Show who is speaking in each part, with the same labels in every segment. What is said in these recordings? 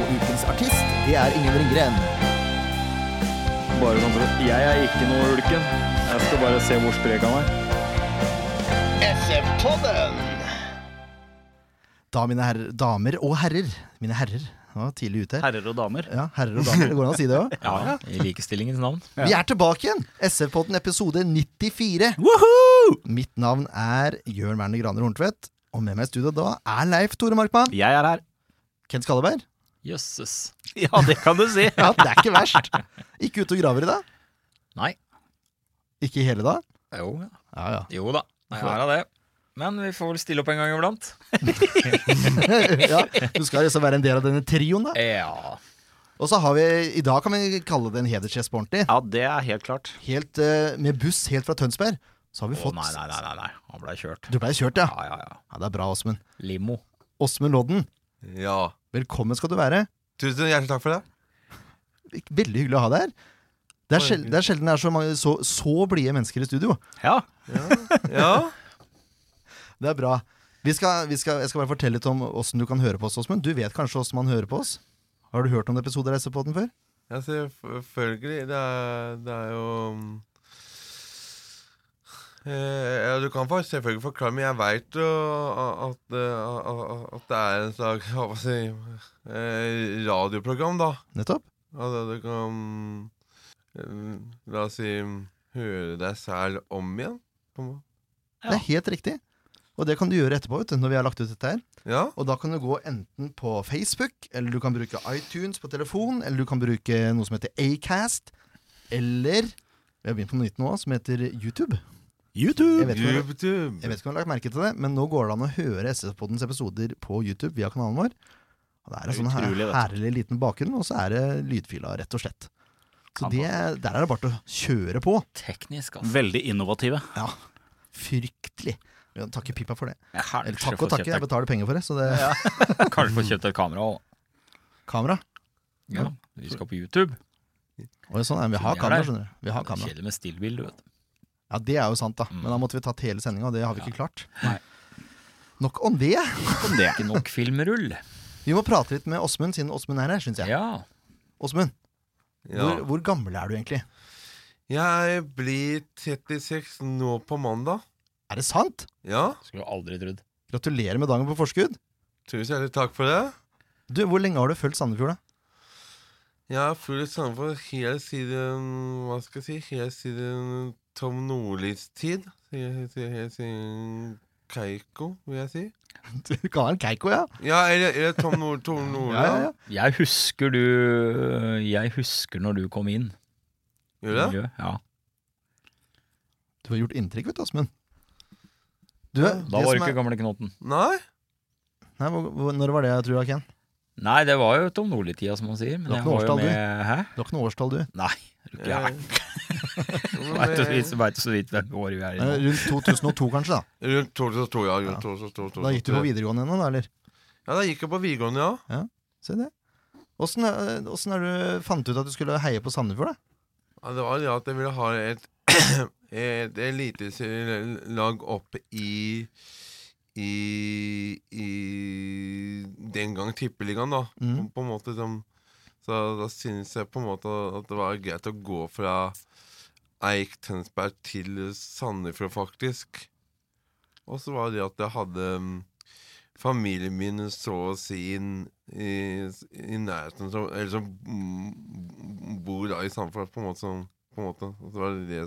Speaker 1: Og ukens artist, det er Ingen Ringgren.
Speaker 2: Bare sånn for at Jeg er ikke noe ulken. Jeg skal bare se hvor sprek han er.
Speaker 3: Da, mine herrer, damer og herrer Mine herrer, nå er jeg tidlig ute her.
Speaker 4: Herrer og damer.
Speaker 3: Ja, herrer og damer, går det an å si det òg?
Speaker 5: Ja, i likestillingens navn.
Speaker 3: Vi er tilbake igjen! SF-podden episode 94. Mitt navn er Jørn Werner Graner Horntvedt, og med meg i studio da er Leif Tore Markmann.
Speaker 4: Jeg er her.
Speaker 3: Kent Skalleberg.
Speaker 5: Jøsses.
Speaker 4: Ja, det kan du si.
Speaker 3: Ja, det er ikke verst. Ikke ute og graver i dag?
Speaker 5: Nei.
Speaker 3: Ikke i hele dag?
Speaker 5: Jo, ja.
Speaker 3: Ja, ja.
Speaker 5: jo da. Jeg har det. Men vi får vel stille opp en gang iblant.
Speaker 3: ja. Du skal liksom være en del av denne trioen, da.
Speaker 5: Ja.
Speaker 3: Og så har vi I dag kan vi kalle det en hedersgjest på ordentlig.
Speaker 4: Ja, det er helt klart.
Speaker 3: Helt eh, med buss helt fra Tønsberg. Så har vi
Speaker 5: Å,
Speaker 3: fått
Speaker 5: nei, nei, nei, nei, nei. Han ble kjørt.
Speaker 3: Du blei kjørt, ja.
Speaker 5: Ja, ja, ja.
Speaker 3: ja? Det er bra, Åsmund.
Speaker 5: Limo.
Speaker 3: Åsmund Lodden,
Speaker 6: Ja.
Speaker 3: velkommen skal du være.
Speaker 6: Tusen hjertelig takk for det.
Speaker 3: Veldig hyggelig å ha deg her. Det er, sjel det er sjelden det er så, mange, så, så blide mennesker i studio.
Speaker 4: Ja.
Speaker 6: Ja.
Speaker 3: Det er bra. Vi skal, vi skal, jeg skal bare fortelle litt om åssen du kan høre på oss, Åsmund. Du vet kanskje åssen man hører på oss? Har du hørt om episoder av SV-podden før?
Speaker 6: Ja, selvfølgelig. Det er, det er jo mm, eh, ja, Du kan for, selvfølgelig forklare, men jeg veit jo at, eh, at det er en slags hva skal jeg si, eh, radioprogram, da.
Speaker 3: Nettopp.
Speaker 6: Altså, du kan eh, La oss si høre deg selv om igjen. på en måte.
Speaker 3: Det er helt riktig. Og det kan du gjøre etterpå, vet du, når vi har lagt ut dette her.
Speaker 6: Ja.
Speaker 3: Og da kan du gå enten på Facebook, eller du kan bruke iTunes på telefon, eller du kan bruke noe som heter Acast, eller Vi har begynt på noe nytt nå, som heter YouTube. Jeg vet, ikke om, jeg
Speaker 6: YouTube.
Speaker 3: vet ikke om du har lagt merke til det, men nå går det an å høre SS-poddens episoder på YouTube via kanalen vår. Og det er en sånn her,
Speaker 4: utrolig, vet du.
Speaker 3: herlig liten bakgrunn, og så er det lydfila, rett og slett. Så det,
Speaker 4: Fantastisk.
Speaker 3: der er det bare til å kjøre på.
Speaker 5: Teknisk, altså.
Speaker 4: Veldig innovative.
Speaker 3: Ja, fryktelig. Vi kan takke Pippa for det.
Speaker 5: Jeg har
Speaker 3: Eller
Speaker 5: kanskje
Speaker 3: takke og
Speaker 5: fått
Speaker 3: takke, jeg
Speaker 5: kjøpt
Speaker 3: betaler penger for det. Så det
Speaker 5: et- Kanskje få kjøpt et kamera òg.
Speaker 3: Kamera.
Speaker 5: Ja. Vi skal på YouTube.
Speaker 3: Og sånn, er det. vi har
Speaker 5: Vi er
Speaker 3: kamera,
Speaker 5: der.
Speaker 3: skjønner du. Vi har
Speaker 5: Det er
Speaker 3: kamera.
Speaker 5: Kjedelig med stillbilde, vet du.
Speaker 3: Ja, det er jo sant, da. Men da måtte vi tatt hele sendinga, og det har vi ikke klart. Nok om det.
Speaker 5: Men det er ikke nok filmrull.
Speaker 3: Vi må prate litt med Åsmund, siden Åsmund er her, syns jeg.
Speaker 5: Ja.
Speaker 3: Åsmund,
Speaker 6: Ja.
Speaker 3: hvor, hvor gammel er du egentlig?
Speaker 6: Jeg blir 36 nå på mandag.
Speaker 3: Er det sant?
Speaker 6: Ja.
Speaker 5: Skulle aldri trodd.
Speaker 3: Gratulerer med dagen på forskudd.
Speaker 6: Tusen hjertelig takk for det.
Speaker 3: Du, Hvor lenge har du fulgt Sandefjord, da?
Speaker 6: Jeg har fulgt Sandefjord helt siden Hva skal jeg si? Helt siden Tom Nordlis tid. Helt siden- helt siden Keiko, vil jeg si.
Speaker 3: Du kaller han Keiko, ja?
Speaker 6: Ja, eller, eller Tom Nord, Tor Nordli.
Speaker 3: Ja, ja, ja.
Speaker 5: Jeg husker du Jeg husker når du kom inn.
Speaker 6: Gjør det?
Speaker 5: Ja.
Speaker 3: Du har gjort inntrykk, vet du, Åsmund. Du,
Speaker 5: Da
Speaker 3: det
Speaker 5: var du
Speaker 3: som
Speaker 5: ikke
Speaker 3: er...
Speaker 5: gamle knotten.
Speaker 6: Nei?
Speaker 3: Nei, hvor- hvor- Når var det, tror jeg, Ken?
Speaker 5: Nei, det var jo Tom Nordli-tida, som man sier.
Speaker 3: Du
Speaker 5: Men
Speaker 3: har ikke
Speaker 5: jeg
Speaker 3: noe
Speaker 5: var jo
Speaker 3: årstall, du?
Speaker 5: med Hæ?
Speaker 3: Du har ikke noe årstall, du.
Speaker 5: Nei, er du gæren? Veit så vidt-
Speaker 6: Eh,
Speaker 5: vet så vidt hvem år vi er i
Speaker 3: Eh,
Speaker 5: nå.
Speaker 3: Rundt 2002, kanskje, da.
Speaker 6: Rundt 2002, ja.
Speaker 3: Ja.
Speaker 6: Rundt 2002,
Speaker 3: Da gikk du på videregående ennå, da, eller?
Speaker 6: Ja, da gikk jeg på videregående, ja.
Speaker 3: Se det. Åssen er- åssen er du fant du ut at du skulle heie på Sandefjord, da?
Speaker 6: ja. Det var det at jeg ville ha et, et eliteserielag opp i i, I den gang tippeligaen, da.
Speaker 3: Mm.
Speaker 6: på, på en måte liksom Så da synes jeg på en måte at det var greit å gå fra Eik Tønsberg til Sandefjord, faktisk. Og så var det at jeg hadde mm, familien min så å si inn i, i nærheten som, Eller som mm, bor da i Sandefjord, på en måte. Som, på en måte. Og så var det det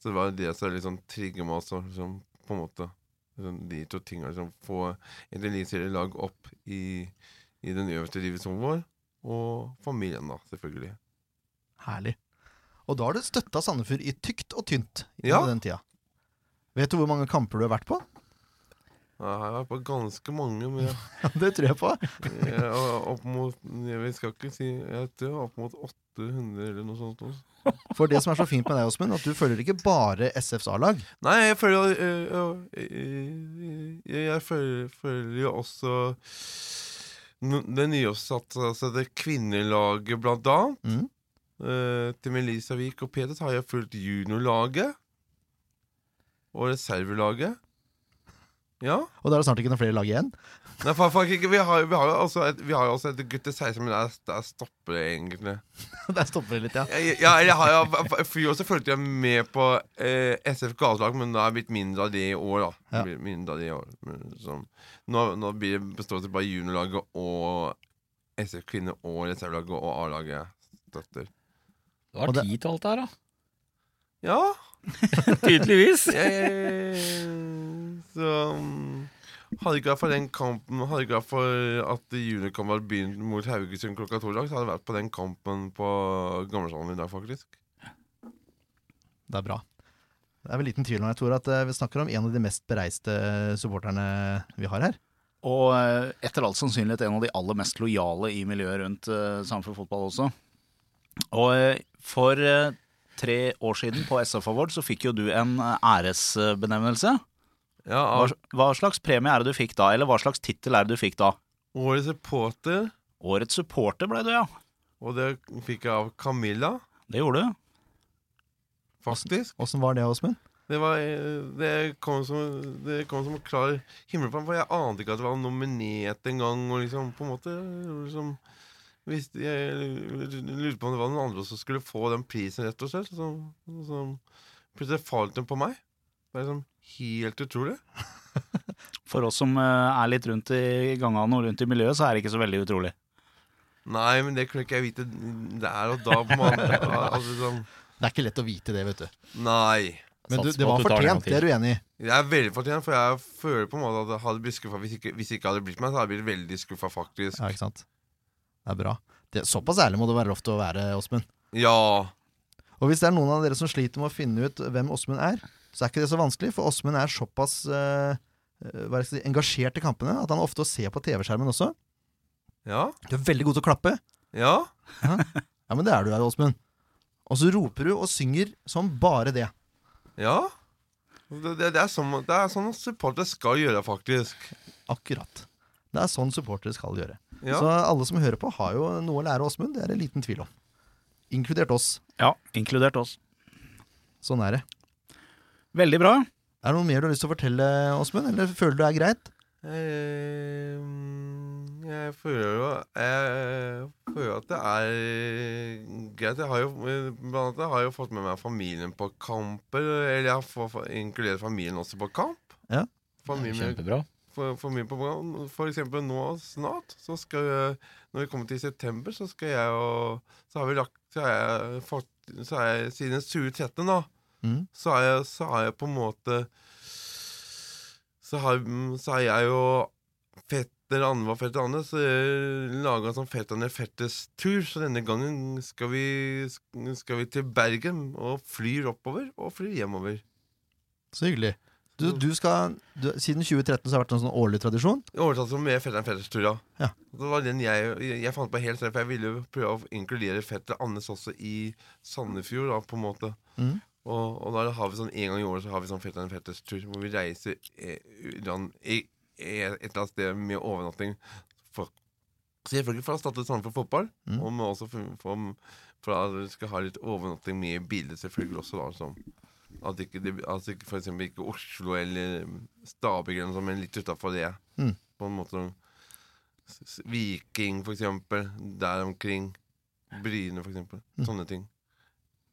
Speaker 6: Så det var det som liksom trigget meg også, liksom, på en måte. Liksom, de to tingene som får et eliteserielag opp i i den øverste divisjonen vår, og familien, da, selvfølgelig.
Speaker 3: Herlig. Og da har du støtta Sandefjord i tykt og tynt i
Speaker 6: Ja.
Speaker 3: den tida. Vet du hvor mange kamper du har vært på?
Speaker 6: Ja, her har jeg vært på ganske mange, men jeg,
Speaker 3: Det tror jeg på.
Speaker 6: jeg, er opp mot jeg, vet- skal ikke si Jeg tror jeg er opp mot 800 eller noe sånt. også.
Speaker 3: For det som er så fint med deg, Åsmund, at du følger ikke bare SFs A-lag.
Speaker 6: Nei, jeg føler øh, øh, øh, Jeg, jeg føler, føler jo også n- det nyoppsatte altså det kvinnelaget, blant annet.
Speaker 3: Mm.
Speaker 6: Eh, til Melissa Wiik og Peter så har jeg fulgt juniorlaget. Og reservelaget. Ja.
Speaker 3: Og da er det snart ikke noen flere lag igjen.
Speaker 6: Nei, fa- fuck ikke. Vi har, vi har jo altså et, vi har jo altså et gutter 16, men der, der stopper det egentlig.
Speaker 3: Der stopper det litt, ja.
Speaker 6: Jeg, jeg, jeg, jeg har jo For i år så fulgte jeg med på eh, SF gatelag, men det er blitt mindre av det i år, da.
Speaker 3: Ja.
Speaker 6: Det blir Mindre av det i år men, sånn. nå, nå blir det består det bare av juniorlaget og SF kvinne og reservelaget og A-laget støtter.
Speaker 5: Du har
Speaker 3: Og det-
Speaker 5: tid til alt det her, da.
Speaker 6: Ja.
Speaker 5: Tydeligvis.
Speaker 6: Jeg- Så mm, Hadde ikke vært for den kampen Hadde ikke vært for at juniorkampen hadde begynt mot Haugesund klokka to i dag, så hadde jeg vært på den kampen på Gamlesalen i dag, faktisk.
Speaker 3: Det er bra. Det er vel liten tvil om jeg tror at eh, vi snakker om en av de mest bereiste eh, supporterne vi har her.
Speaker 7: Og eh, etter all sannsynlighet en av de aller mest lojale i miljøet rundt uh, Samfunn fotball også. Og eh, for eh, tre år siden på SF Award så fikk jo du en eh, æresbenevnelse.
Speaker 6: Ja,
Speaker 7: Hva,
Speaker 6: av
Speaker 7: hva slags premie er det du fikk da, eller hva slags tittel er det du fikk da?
Speaker 6: Årets supporter,
Speaker 7: Årets supporter ble du, ja.
Speaker 6: og det fikk jeg av Camilla,
Speaker 7: Det gjorde du.
Speaker 6: faktisk.
Speaker 3: Åssen var det, Åsmund?
Speaker 6: Det, var, eh, det, kom som, det kom som en klar himmelflam, for jeg ante ikke at det var nominert engang. Og liksom, på en måte liksom, visste- Jeg lurte på om det var noen andre som skulle få den prisen, rett og slett. Så, så plutselig falt den på meg. Det er liksom helt utrolig.
Speaker 7: For oss som eh, er litt rundt i gangene og rundt i miljøet, så er det ikke så veldig utrolig.
Speaker 6: Nei, men det kunne ikke jeg vite der og da. På en måte. altså, sånn,
Speaker 3: Det er ikke lett å vite det, vet du.
Speaker 6: nei.
Speaker 3: Men du,
Speaker 5: Satser
Speaker 3: det
Speaker 5: på
Speaker 3: var
Speaker 5: at du tar det en gang
Speaker 3: fortjent, det er du enig i.
Speaker 6: Jeg er veldig fortjent, for jeg føler på en måte at jeg hadde blitt skuffa hvis, ikke- hvis jeg ikke hadde blitt meg. Så hadde jeg blitt veldig skuffa, faktisk.
Speaker 3: Ja, ikke sant? Det er bra. Det, såpass ærlig må det være lov til å være, Åsmund.
Speaker 6: Ja.
Speaker 3: Og hvis det er noen av dere som sliter med å finne ut hvem Åsmund er, så er ikke det så vanskelig, for Åsmund er såpass eh, eh, hva skal jeg si, engasjert i kampene at han ofte ser på TV-skjermen også.
Speaker 6: Ja.
Speaker 3: Du er veldig god til å klappe.
Speaker 6: Ja.
Speaker 3: Ja, men det er du her, Åsmund. Og så roper du og synger som bare det.
Speaker 6: Ja. Det, det, det, er sånn, det er sånn supportere skal gjøre, faktisk.
Speaker 3: Akkurat. Det er sånn supportere skal gjøre.
Speaker 6: Ja.
Speaker 3: Så alle som hører på, har jo noe å lære av Åsmund. Det er det liten tvil om. Inkludert oss.
Speaker 7: Ja, inkludert oss.
Speaker 3: Sånn er det.
Speaker 7: Veldig bra.
Speaker 3: Er det noe mer du har lyst til å fortelle, Åsmund? Eller føler du det er greit?
Speaker 6: Eh, mm, jeg føler jo Jeg føler at det er greit. Jeg har jo, eh, blant annet, jeg har jo fått med meg familien på kamper. Eller jeg får fa- inkludert familien også på kamp.
Speaker 3: Ja.
Speaker 6: Familien,
Speaker 5: Kjempebra.
Speaker 6: for, for mye på program. For eksempel nå snart, så skal jeg, når vi kommer til september, så skal jeg og Så har vi lagt Så har jeg, fått, så har jeg siden 2013, da,
Speaker 3: Mhm.
Speaker 6: så, har jeg, så har jeg på en måte Så har, så har jeg og fetter Anne var fetter Anne, så laga en sånn fetterne fetters tur. Så denne gangen skal vi, skal vi til Bergen og flyr oppover og flyr hjemover.
Speaker 3: Så hyggelig. Du, du skal, du, siden 2013 så har det vært en sånn årlig tradisjon.
Speaker 6: Overtatt som med fetteren Fetters tur, ja.
Speaker 3: Ja.
Speaker 6: Det var den jeg, jeg, jeg fant på helt selv, for jeg ville jo prøve å inkludere fetter Annes også i Sandefjord, da, på en måte.
Speaker 3: Mhm.
Speaker 6: Og, og da har vi sånn en gang i året så har vi sånn fetteren Fetters tur, hvor vi reiser eh, land, i, i et eller annet sted med overnatting. For, selvfølgelig for å starte sammen for fotball,
Speaker 3: Mhm.
Speaker 6: og med også for, for, for at vi skal ha litt overnatting med bilder, selvfølgelig også, da. Sånn. At ikke, det- at ikke for eksempel ikke Oslo eller Stabæk eller noe sånt, men litt utafor det på en måte s- s- Viking, for eksempel. Der omkring. Bryne, for eksempel.
Speaker 3: Mm.
Speaker 6: Sånne ting.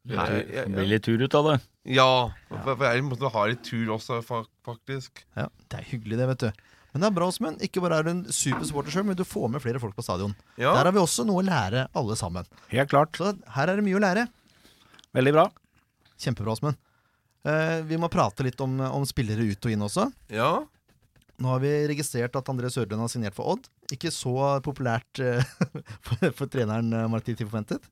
Speaker 5: Nei,
Speaker 6: ja,
Speaker 5: det
Speaker 6: ja.
Speaker 5: blir litt tur ut av det.
Speaker 6: Ja! For, for jeg måtte ha litt tur også, fa- faktisk.
Speaker 3: Ja, Det er hyggelig, det, vet du. Men det er bra, Åsmund. Ikke bare er du en supersupporter sjøl, men du får med flere folk på stadion. Der
Speaker 6: Ja.
Speaker 3: har vi også noe å lære, alle sammen.
Speaker 7: Helt klart.
Speaker 3: Så her er det mye å lære.
Speaker 7: Veldig bra.
Speaker 3: Kjempebra, Åsmund. Eh, vi må prate litt om, om spillere ut og inn også.
Speaker 6: ja.
Speaker 3: Nå har vi registrert at André Sørlund har signert for Odd. Ikke så populært eh, for, for treneren eh, Martiti forventet.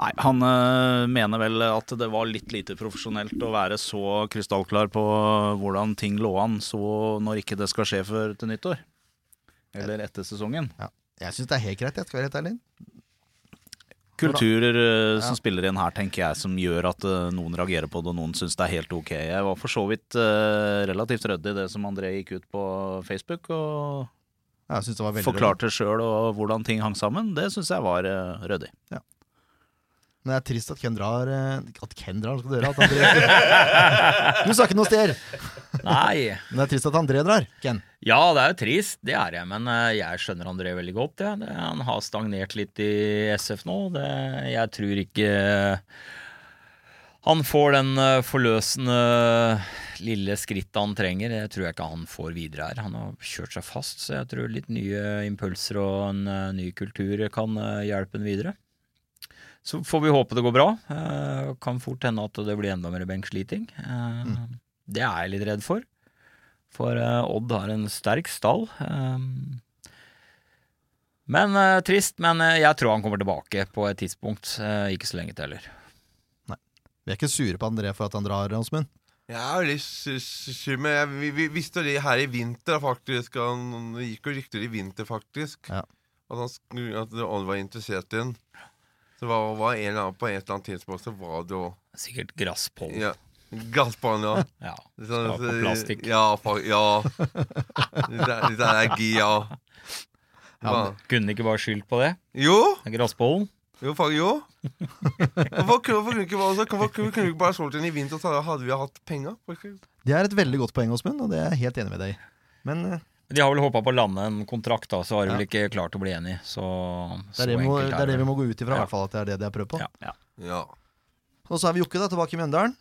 Speaker 7: Nei, han øh, mener vel at det var litt lite profesjonelt å være så krystallklar på hvordan ting lå an så når ikke det skal skje før til nyttår. Eller etter sesongen.
Speaker 3: Jeg syns det er helt greit, jeg skal være helt ærlig.
Speaker 7: Kulturer øh, som
Speaker 3: Ja.
Speaker 7: spiller inn her, tenker jeg, som gjør at øh, noen reagerer på det, og noen syns det er helt ok. Jeg var for så vidt øh, relativt ryddig i det som André gikk ut på Facebook, og
Speaker 3: Ja, Jeg synes det var veldig
Speaker 7: forklarte sjøl hvordan ting hang sammen. Det syns jeg var øh, ryddig.
Speaker 3: rart. Men det er trist at Ken drar eh, At Ken drar, skal dere at André Du sa ikke noe sted!
Speaker 5: Nei.
Speaker 3: Men det er trist at André drar, Ken.
Speaker 5: Ja, det er jo trist, det er jeg, men eh, jeg skjønner André veldig godt. Ja. Det, han har stagnert litt i SF nå. Det, jeg tror ikke han får den eh, forløsende lille skrittet han trenger. Det tror jeg ikke han får videre her. Han har kjørt seg fast, så jeg tror litt nye impulser og en eh, ny kultur kan eh, hjelpe ham videre. Så får vi håpe det går bra. Eh, Kan fort hende at det blir enda mer benksliting. Eh, Det er jeg litt redd for. For eh, Odd har en sterk stall. ehm. men eh, trist, men eh, jeg tror han kommer tilbake på et tidspunkt. eh, ikke så lenge til heller.
Speaker 3: Vi er ikke sure på André for at han drar, Åsmund.
Speaker 6: Jeg er litt sy- sy- sur, men jeg, vi, vi visste jo det her i vinter, faktisk. Han, det gikk jo rykter i vinter, faktisk.
Speaker 3: Ja.
Speaker 6: At, han, sku- at Odd var interessert i den. Så det var, var en eller annen på et eller annet tidspunkt, så var det jo
Speaker 5: Sikkert gresspollen. Ja.
Speaker 6: ja, Gassbanen, ja. Det er sånn-
Speaker 5: Skal på plastikk.
Speaker 6: Ja. fa- ja. Litt der- litt allergi, ja. Hva?
Speaker 5: Kunne ikke bare skyldt på det.
Speaker 6: Jo,
Speaker 5: Det er Gresspollen.
Speaker 6: jo, faen, jo. Hvorfor kunne hvorfor kunne du ikke, være- altså, hvorfor kunne du ikke bare solgt den i vinter, så hadde vi hatt penger?
Speaker 3: Det er et veldig godt poeng, Åsmund, og det er jeg helt enig med deg i. Men eh,
Speaker 5: De har vel håpa på å lande en kontrakt, da, så har de
Speaker 3: Ja.
Speaker 5: vel ikke klart å bli enige. Så,
Speaker 3: det
Speaker 5: så
Speaker 3: er det, vi må,
Speaker 5: enkelt
Speaker 3: det er det vi må gå ut ifra, i
Speaker 5: Ja.
Speaker 3: hvert fall at det er det de har prøvd på.
Speaker 5: Ja.
Speaker 6: Ja.
Speaker 3: Og så er vi Jokke da, tilbake i Mjøndalen.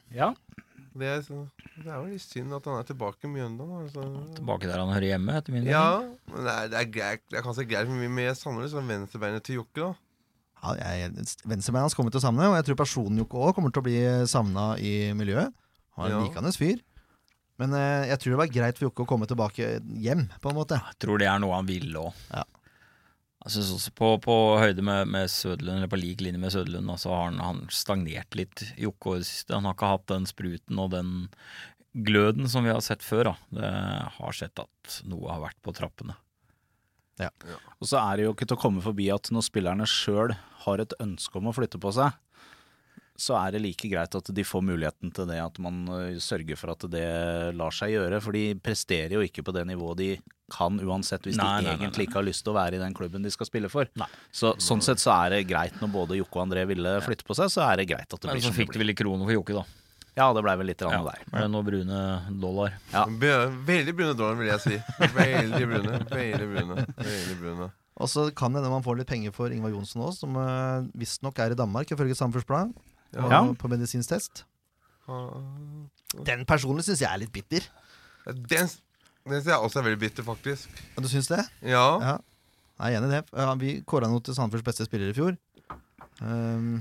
Speaker 6: Det er, så- det er jo litt synd at han er tilbake i Mjøndalen. Altså.
Speaker 5: Tilbake der han hører hjemme, etter min mening.
Speaker 6: Ja, men det er, det er, greit, det er kanskje greit, men vi- vi savner liksom venstrebeinet til Jokke. da
Speaker 3: Ja, jeg- Venstrebeina hans kommer til å savne, og jeg tror personen Jokke òg kommer til å bli savna i miljøet. Han er en
Speaker 6: Ja.
Speaker 3: likende fyr. Men eh, jeg tror det var greit for Jokke å komme tilbake hjem, på en måte.
Speaker 5: Jeg tror det er noe han ville òg.
Speaker 3: Ja.
Speaker 5: Jeg synes også på, på høyde med, med Søderlund, eller på lik linje med Søderlund, da, så har han, han stagnert litt Jokke i det siste. Han har ikke hatt den spruten og den gløden som vi har sett før. Da. Det har sett at noe har vært på trappene.
Speaker 7: Og så er det jo ikke til å komme forbi at når spillerne sjøl har et ønske om å flytte på seg, så er det like greit at de får muligheten til det, at man ø, sørger for at det lar seg gjøre. For de presterer jo ikke på det nivået de kan uansett, hvis
Speaker 5: Nei,
Speaker 7: de
Speaker 5: nei, nei,
Speaker 7: egentlig ikke har lyst til å være i den klubben de skal spille for.
Speaker 5: Nei.
Speaker 7: Så sånn sett så er det greit når både Jokke og André ville flytte på seg, så er det greit at det
Speaker 5: Men
Speaker 7: blir
Speaker 5: så
Speaker 7: som det
Speaker 5: fikk du
Speaker 7: blir.
Speaker 5: vel i kroner for Jokke, da.
Speaker 7: Ja, det blei vel litt rann der.
Speaker 5: Ble det noen brune dollar?
Speaker 7: Ja.
Speaker 6: Be- Veldig brune dollar, vil jeg si. Veldig brune. Veldig brune. Veldig brune.
Speaker 3: Og så kan det hende man får litt penger for Ingvar Johnsen òg, som uh, visstnok er i Danmark, ifølge Samfunnsbladet, og
Speaker 7: Ja.
Speaker 3: på medisinsk test.
Speaker 6: Ah.
Speaker 3: Den personlig syns jeg er litt bitter.
Speaker 6: Den, s- den ser jeg også er veldig bitter, faktisk.
Speaker 3: Og Du syns det?
Speaker 6: Ja.
Speaker 3: Ja. Jeg er enig i det. Ja, vi kåra noe til Sandefjords beste spiller i fjor. Ehm,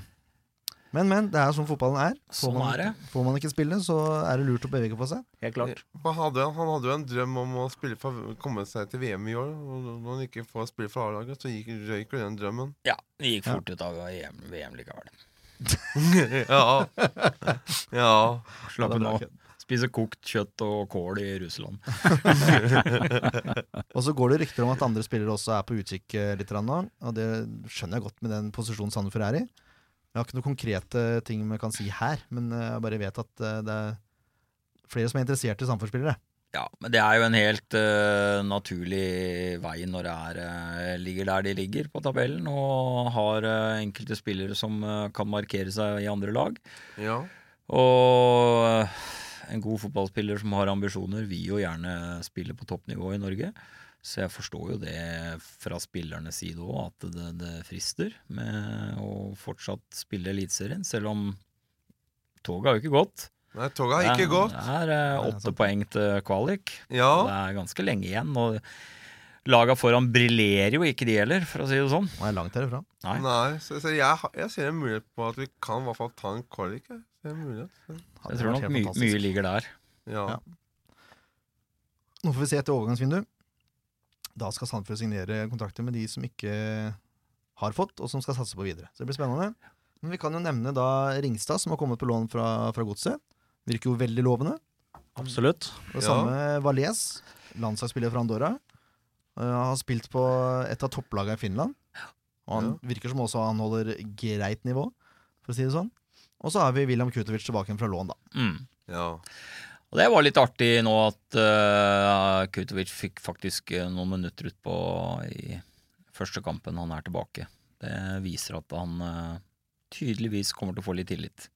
Speaker 3: men, men. Det er sånn fotballen er. Får
Speaker 5: Sånn
Speaker 3: man,
Speaker 5: er det.
Speaker 3: Får man ikke spille, så er det lurt å bevege på seg.
Speaker 7: Helt klart.
Speaker 6: Han hadde, han hadde jo en drøm om å spille for, komme seg til VM i år. Og når han ikke får spille for A-laget, så gikk, røyk jo den drømmen.
Speaker 5: Ja, det gikk fort ut av EM, VM likevel.
Speaker 6: Ja. ja.
Speaker 5: Slapp
Speaker 3: det er
Speaker 5: nå.
Speaker 3: bra,
Speaker 5: Spise kokt kjøtt og kål i Russland.
Speaker 3: Og så går det rykter om at andre spillere også er på utkikk eh, litt grann nå. Og det skjønner jeg godt med den posisjonen Sandefjord er i. Jeg har ikke noen konkrete ting vi kan si her, men eh, jeg bare vet at eh, det er flere som er interessert i Sandefjord-spillere.
Speaker 5: Ja, men det er jo en helt eh, naturlig vei når det er, eh, ligger der de ligger på tabellen, og har eh, enkelte spillere som eh, kan markere seg i andre lag.
Speaker 6: ja.
Speaker 5: Og eh, en god fotballspiller som har ambisjoner, vil jo gjerne spille på toppnivå i Norge. Så jeg forstår jo det fra spillernes side òg, at det, det frister med å fortsatt spille Eliteserien, selv om toget har jo ikke gått.
Speaker 6: Nei, toget har ikke gått.
Speaker 5: Det er eh, åtte poeng til kvalik. Det
Speaker 7: Ah.
Speaker 6: Ja.
Speaker 5: er ganske lenge igjen, og laga foran briljerer jo ikke de heller, for å si det sånn.
Speaker 3: Og jeg er langt herifra.
Speaker 5: Nei.
Speaker 6: Nei, så, så jeg, har- jeg ser en mulighet på at vi kan i hvert fall ta en kvalik. jeg. Ser en mulighet.
Speaker 3: Hadde
Speaker 5: Jeg tror
Speaker 3: vært
Speaker 5: nok
Speaker 3: helt
Speaker 5: my
Speaker 3: fantastisk.
Speaker 5: mye ligger der.
Speaker 6: Ja.
Speaker 3: Ja. Nå får vi se etter overgangsvindu. Da skal Sandefjord signere kontrakter med de som ikke har fått, og som skal satse på videre. Så det blir spennende. Men vi kan jo nevne da Ringstad, som har kommet på lån fra, fra Godset. Virker jo veldig lovende.
Speaker 7: Absolutt.
Speaker 3: Det
Speaker 6: Ja.
Speaker 3: samme Valais, landslagsspiller fra Andorra. Eh, har spilt på et av topplagene i Finland. Og han virker som også han holder greit nivå, for å si det sånn. Og så har vi William Kutovic tilbake igjen fra lån, da.
Speaker 5: Mm.
Speaker 6: Ja.
Speaker 5: Og det var litt artig nå at eh, Kutovic fikk faktisk eh, noen minutter utpå i første kampen han er tilbake. Det viser at han eh, tydeligvis kommer til å få litt tillit.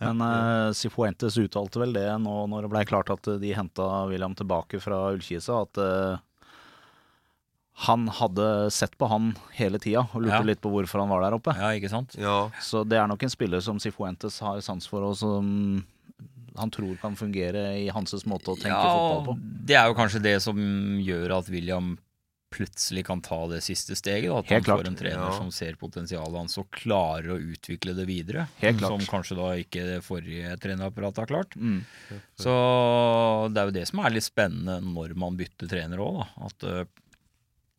Speaker 7: Men eh, Sifuentes uttalte vel det nå når det blei klart at eh, de henta William tilbake fra Ullkisa, at eh, han hadde sett på han hele tida og lurte
Speaker 5: Ja.
Speaker 7: litt på hvorfor han var der oppe.
Speaker 5: Ja, ikke sant?
Speaker 6: ja.
Speaker 7: Så det er nok en spiller som Sifuentes har sans for, og som han tror kan fungere i Hanses måte å tenke fotball på.
Speaker 5: Det er jo kanskje det som gjør at William plutselig kan ta det siste steget. Da,
Speaker 7: Helt
Speaker 5: at han
Speaker 7: klart.
Speaker 5: får en trener
Speaker 6: Ja.
Speaker 5: som ser potensialet hans og klarer å utvikle det videre.
Speaker 7: Helt klart.
Speaker 5: som kanskje da ikke det forrige trenerapparatet har klart.
Speaker 7: Mm.
Speaker 5: Så det er jo det som er litt spennende når man bytter trener òg, da. At eh,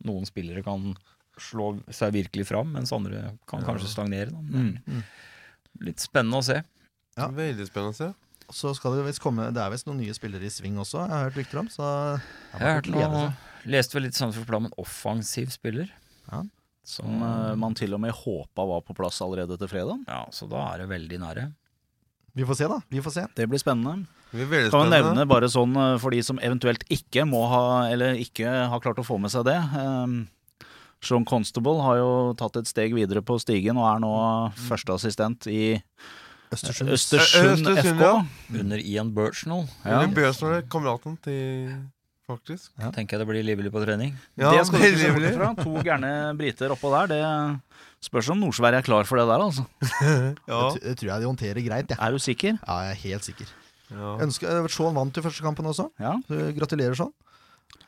Speaker 5: noen spillere kan slå seg virkelig fram, mens andre kan kanskje stagnere. Da. Men det er Litt spennende å se.
Speaker 3: Ja.
Speaker 6: Veldig spennende å se.
Speaker 3: Så skal det visst komme Det er visst noen nye spillere i sving også, jeg har hørt rykter om. Så
Speaker 5: Jeg har hørt noe, leste vel litt Sandefjord Blad om en offensiv spiller.
Speaker 3: Ja.
Speaker 7: Som
Speaker 5: Som,
Speaker 7: eh, man til og med håpa var på plass allerede til fredag.
Speaker 5: ja, så da er det veldig nære.
Speaker 3: Vi får se, da. Vi får se.
Speaker 7: Det blir spennende.
Speaker 6: Det blir veldig
Speaker 7: Kan man
Speaker 6: spennende.
Speaker 7: nevne bare sånn eh, for de som eventuelt ikke må ha Eller ikke har klart å få med seg det. ehm, Sean Constable har jo tatt et steg videre på stigen og er nå førsteassistent i
Speaker 3: Østersund.
Speaker 7: Østersund
Speaker 6: Østersund,
Speaker 7: FK.
Speaker 6: ja.
Speaker 5: Under Ian Burchnell
Speaker 7: Ja.
Speaker 6: Eller Bjørsnor, kameraten til Faktisk.
Speaker 3: Ja.
Speaker 5: tenker jeg det blir livlig på trening.
Speaker 6: Ja,
Speaker 7: det skal du ikke se bort
Speaker 6: veldig livlig.
Speaker 7: ifra. To gærne briter oppå der. Det spørs om Nord-Sverige er klar for det der, altså.
Speaker 3: Det,
Speaker 6: Ja.
Speaker 3: tr- det tror jeg de håndterer greit, jeg.
Speaker 7: Er du sikker?
Speaker 3: Ja, jeg er helt sikker.
Speaker 6: Ja.
Speaker 3: Ønsker, eh, Shaun vant jo første kampen også.
Speaker 7: Ja.
Speaker 3: Så Gratulerer, Shaun.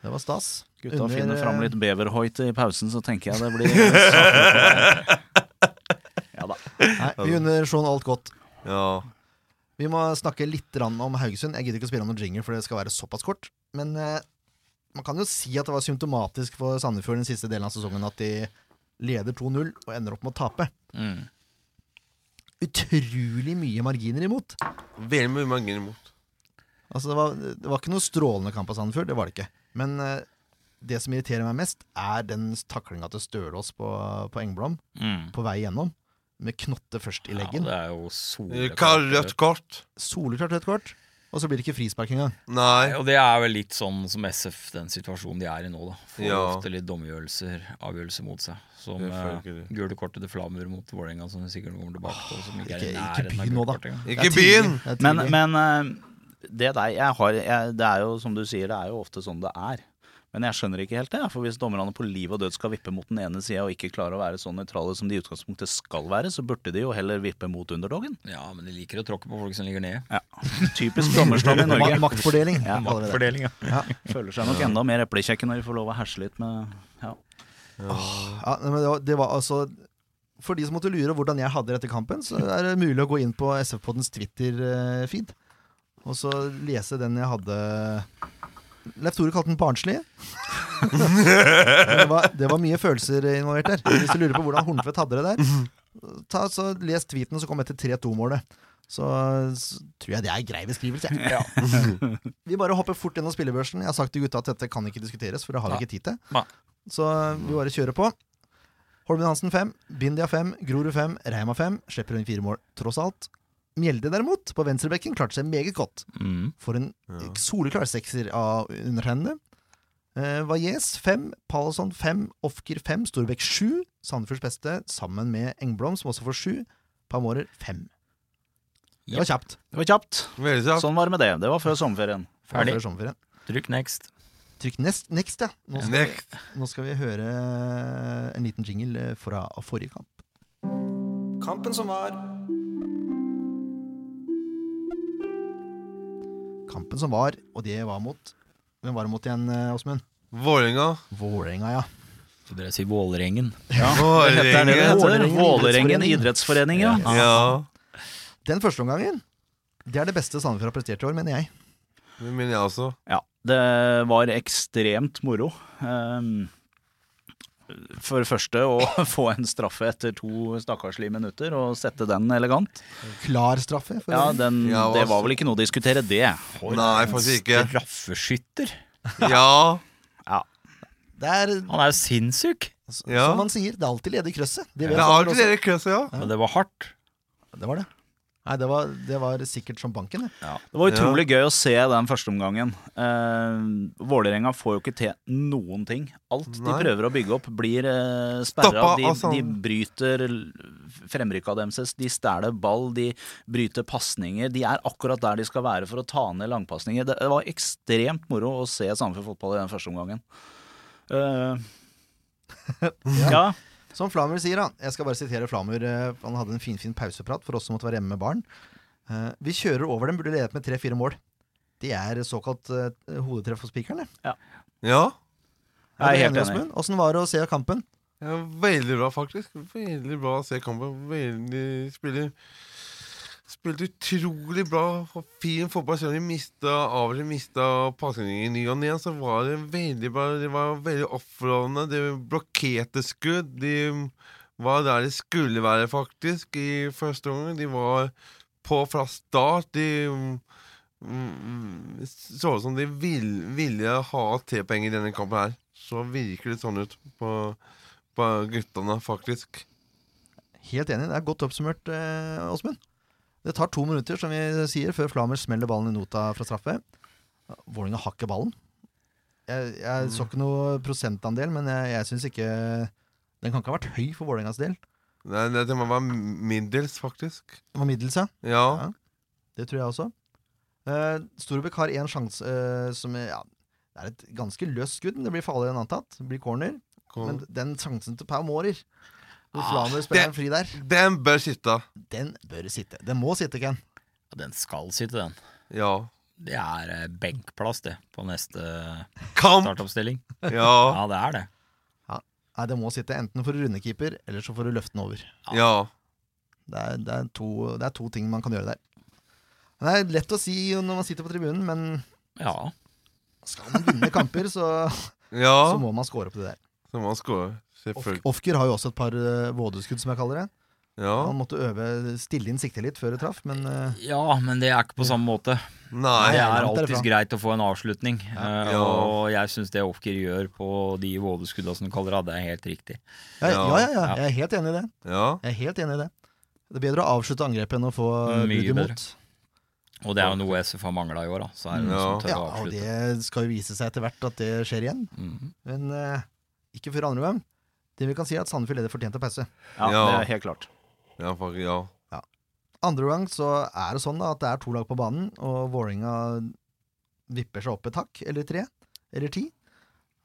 Speaker 3: Det var stas.
Speaker 7: Gutta
Speaker 3: Under,
Speaker 7: finner fram
Speaker 3: eh,
Speaker 7: litt beverhoit i pausen, så tenker jeg det blir Ja da.
Speaker 3: Nei, vi unner Shaun alt godt.
Speaker 6: ja.
Speaker 3: Vi må snakke litt grann om Haugesund. Jeg gidder ikke å spille om noen jingle, for det skal være såpass kort. Men eh, man kan jo si at det var symptomatisk for Sandefjord den siste delen av sesongen at de leder 2-0 og ender opp med å tape.
Speaker 5: Mm.
Speaker 3: Utrolig mye marginer imot.
Speaker 6: Veldig mye margin imot.
Speaker 3: Altså, det, var, det var ikke noe strålende kamp av Sandefjord, det var det ikke. Men eh, det som irriterer meg mest, er den taklinga til Stølås på, på Engblom
Speaker 5: Mm.
Speaker 3: på vei gjennom. Med knotte først i
Speaker 5: Ja,
Speaker 3: leggen.
Speaker 5: det er jo
Speaker 6: Hva er
Speaker 5: soleklart.
Speaker 6: rødt kort?
Speaker 3: Soleklart rødt kort. Og så blir det ikke frispark engang.
Speaker 6: Nei.
Speaker 5: Og det er vel litt sånn som SF, den situasjonen de er i nå, da. Får
Speaker 6: Ja.
Speaker 5: ofte litt domgjørelser, avgjørelser mot seg. Som eh,
Speaker 6: Selvfølgelig.
Speaker 5: gule kortet til Flamur mot Vålerenga, som de sikkert kommer tilbake til. Som ikke er i
Speaker 3: ikke- ikke
Speaker 5: nærheten av
Speaker 3: begynn nå,
Speaker 5: gule
Speaker 3: da.
Speaker 5: kort engang.
Speaker 6: Ikke
Speaker 3: Det er
Speaker 6: byen!
Speaker 3: tidlig, det er
Speaker 7: Men,
Speaker 3: tidlig.
Speaker 7: men eh, det der jeg har jeg, Det er jo som du sier, det er jo ofte sånn det er. Men jeg skjønner ikke helt det. For hvis dommerne på liv og død skal vippe mot den ene sida og ikke klarer å være så nøytrale som de i utgangspunktet skal være, så burde de jo heller vippe mot underdogen.
Speaker 5: Ja, men de liker å tråkke på folk som ligger ned.
Speaker 7: Typisk dommerstand i
Speaker 3: Ma-
Speaker 7: Norge.
Speaker 3: Maktfordeling.
Speaker 7: Ja,
Speaker 3: kaller vi det.
Speaker 7: Føler seg nok enda mer eplekjekke når de får lov å herse litt med ja.
Speaker 3: Ja, nei, men det, var, det var altså For de som måtte lure hvordan jeg hadde det etter kampen, så er det mulig å gå inn på SF-poddens Twitter-feed og så lese den jeg hadde Leif Tore kalte den barnslig. Men det, var, det var mye følelser involvert der. Hvis du lurer på hvordan Hornfett hadde det der, ta, så les tweeten som kom etter 3-2-målet. Så, så tror jeg det er grei beskrivelse. jeg. Vi bare hopper fort gjennom spillebørsen. Jeg har sagt til gutta at dette kan ikke diskuteres, for det har vi
Speaker 5: Ja.
Speaker 3: ikke tid til.
Speaker 5: Nei.
Speaker 3: Så vi bare kjører på. Holmen Hansen 5, Bindia 5, Grorud 5, Reima 5. Slipper inn fire mål, tross alt. Mjelde derimot, på venstrebekken, klarte seg meget godt.
Speaker 5: Mm.
Speaker 3: For en soleklar sekser av undertegnede. Eh, Valles 5, Palason 5, Ofker 5, Storbekk 7. Sandefjords beste, sammen med Engblom, som også får 7. Pamorer 5. Det var kjapt.
Speaker 7: Det var kjapt.
Speaker 6: Veldig sant.
Speaker 7: Sånn var det med det. Det var før sommerferien.
Speaker 5: Ferdig.
Speaker 3: Før sommerferien.
Speaker 5: Trykk next.
Speaker 3: Trykk nest, next, ja. Nå skal,
Speaker 6: Nekt.
Speaker 3: nå skal vi høre en liten jingle eh, fra forrige kamp.
Speaker 1: Kampen som var.
Speaker 3: kampen som var, og det var mot Hvem var det mot igjen, eh, Åsmund?
Speaker 6: Vålerenga.
Speaker 3: Vålerenga, ja.
Speaker 5: Så dere sier Vålerengen.
Speaker 7: Det er det det
Speaker 6: Vålerenga.
Speaker 7: heter.
Speaker 3: Vålerengen
Speaker 7: Vålerengen
Speaker 3: idrettsforening.
Speaker 7: idrettsforening, ja.
Speaker 6: Ja.
Speaker 3: Den første omgangen, det er det beste Sandefjord har prestert i år, mener jeg.
Speaker 6: Det mener jeg også.
Speaker 7: Ja, Det var ekstremt moro. Ehm, For det første å få en straffe etter to stakkarslige minutter og sette den elegant.
Speaker 3: Klar straffe. For
Speaker 7: Ja, den,
Speaker 6: Ja,
Speaker 7: Det
Speaker 6: altså.
Speaker 7: var vel ikke noe å diskutere, det.
Speaker 6: Nei, faktisk ikke.
Speaker 5: Straffeskytter.
Speaker 6: Ja,
Speaker 3: Det er
Speaker 5: Han er jo sinnssyk.
Speaker 6: ja.
Speaker 3: som man sier, det er alltid ledig i krøsset. Det, vet
Speaker 6: Det er
Speaker 3: folk
Speaker 6: alltid dere i kø, så ja.
Speaker 5: Men det var hardt.
Speaker 3: også. det var det. Nei, det var, det var sikkert som banken. Det.
Speaker 7: Det var utrolig gøy å se den førsteomgangen. Eh, Vålerenga får jo ikke til noen ting. Alt de
Speaker 6: Nei.
Speaker 7: prøver å bygge opp, blir eh, sperra.
Speaker 6: Stoppa
Speaker 7: De,
Speaker 6: av sånn-
Speaker 7: de bryter l- fremrykka deres, de stjeler ball, de bryter pasninger. De er akkurat der de skal være for å ta ned langpasninger. Det, det var ekstremt moro å se Sandefjord fotball i den første omgangen. Eh, ja.
Speaker 3: Som Flamur sier, han. Jeg skal bare sitere Flamur. eh, Han hadde en finfin pauseprat for oss som måtte være hjemme med barn. Eh, Vi kjører over dem, burde ledet med tre-fire mål. Det er såkalt eh, hodetreff for spikeren, det.
Speaker 6: Ja.
Speaker 7: Jeg er
Speaker 3: Er du
Speaker 7: helt enig.
Speaker 3: Åsmund? Åssen var det å se kampen?
Speaker 6: ja veldig bra, faktisk. Veldig bra å se kampen. Veldig spiller Spilte utrolig bra og fin fotball. Selv om de mista av og til mista pasninger i ny og ne, så var det veldig bra. De var veldig offrovne. De blokkerte skudd. De var der de skulle være, faktisk, i første omgang. De var på fra start. De mm, mm, så ut som de vil, ville ha tre poeng i denne kampen her. Så virker det sånn ut på, på guttene, faktisk.
Speaker 3: Helt enig, det er godt oppsummert, eh, Åsmund. Det tar to minutter, som vi sier, før Flammer smeller ballen i nota fra straffe. Vålerenga har ikke ballen. Jeg, jeg så ikke noe prosentandel, men jeg, jeg syns ikke Den kan ikke ha vært høy for Vålerengas del.
Speaker 6: Nei, det, det må være middels, faktisk.
Speaker 3: Det var middels, ja.
Speaker 6: Ja.
Speaker 3: Ja. Det tror jeg også. Eh, Storbekk har én sjanse eh, som er- ja, Det er et ganske løst skudd, men det blir farligere enn antatt. Det blir corner.
Speaker 6: Kom.
Speaker 3: Men den sjansen til Pau Mårer, hvor Flammer spiller
Speaker 6: Ah, det-
Speaker 3: en fri der,
Speaker 6: Den bør sitte.
Speaker 3: den bør sitte. Den må sitte, Ken.
Speaker 5: Ja, den skal sitte, den.
Speaker 6: Ja.
Speaker 5: Det er eh, benkplass, det, på neste
Speaker 6: Kamp!
Speaker 5: startoppstilling.
Speaker 6: Ja.
Speaker 5: Ja, det er det.
Speaker 3: Nei, det må sitte. Enten får du rundekeeper, eller så får du løfte den over.
Speaker 6: Ja.
Speaker 3: Det er, det, er to, det er to ting man kan gjøre der. Det er lett å si når man sitter på tribunen, men
Speaker 5: Ja.
Speaker 3: skal man vinne kamper, så,
Speaker 6: Ja.
Speaker 3: så må man score på det der.
Speaker 6: Så man scorer. Selvfølgelig.
Speaker 3: Ofk- Ofker har jo også et par eh, vådeskudd, som jeg kaller det.
Speaker 6: Ja.
Speaker 3: Han måtte øve stille inn siktet litt før det traff, men eh,
Speaker 5: ja, men det er ikke på samme måte.
Speaker 6: Nei.
Speaker 3: langt
Speaker 5: Det er
Speaker 3: derfra.
Speaker 5: alltid greit å få en avslutning. eh,
Speaker 6: Ja.
Speaker 5: Og jeg syns det Ofker gjør på de vådeskudda som du kaller det, det er helt riktig.
Speaker 3: ja, ja, ja, ja,
Speaker 5: Ja.
Speaker 3: jeg er helt enig i det.
Speaker 6: Ja.
Speaker 3: Jeg er helt enig i det. Det er bedre å avslutte angrepet enn å få
Speaker 5: Mye
Speaker 3: brudd
Speaker 5: bedre.
Speaker 3: imot.
Speaker 5: Og det er jo noe SF har mangla i år, da. Så er det noen
Speaker 6: Ja.
Speaker 5: som tør
Speaker 3: Ja,
Speaker 5: å
Speaker 3: og
Speaker 5: avslutte.
Speaker 3: det skal jo vise seg etter hvert at det skjer igjen,
Speaker 5: Mhm.
Speaker 3: men eh, ikke før andre gang. Det vi kan si, er at Sandefjord leder fortjente pause.
Speaker 7: ja, det
Speaker 6: Ja.
Speaker 7: er helt klart.
Speaker 6: Ja, faktisk. Ja.
Speaker 3: Andre gang så er det sånn da at det er to lag på banen, og Vålerenga vipper seg opp et hakk, eller tre, eller ti.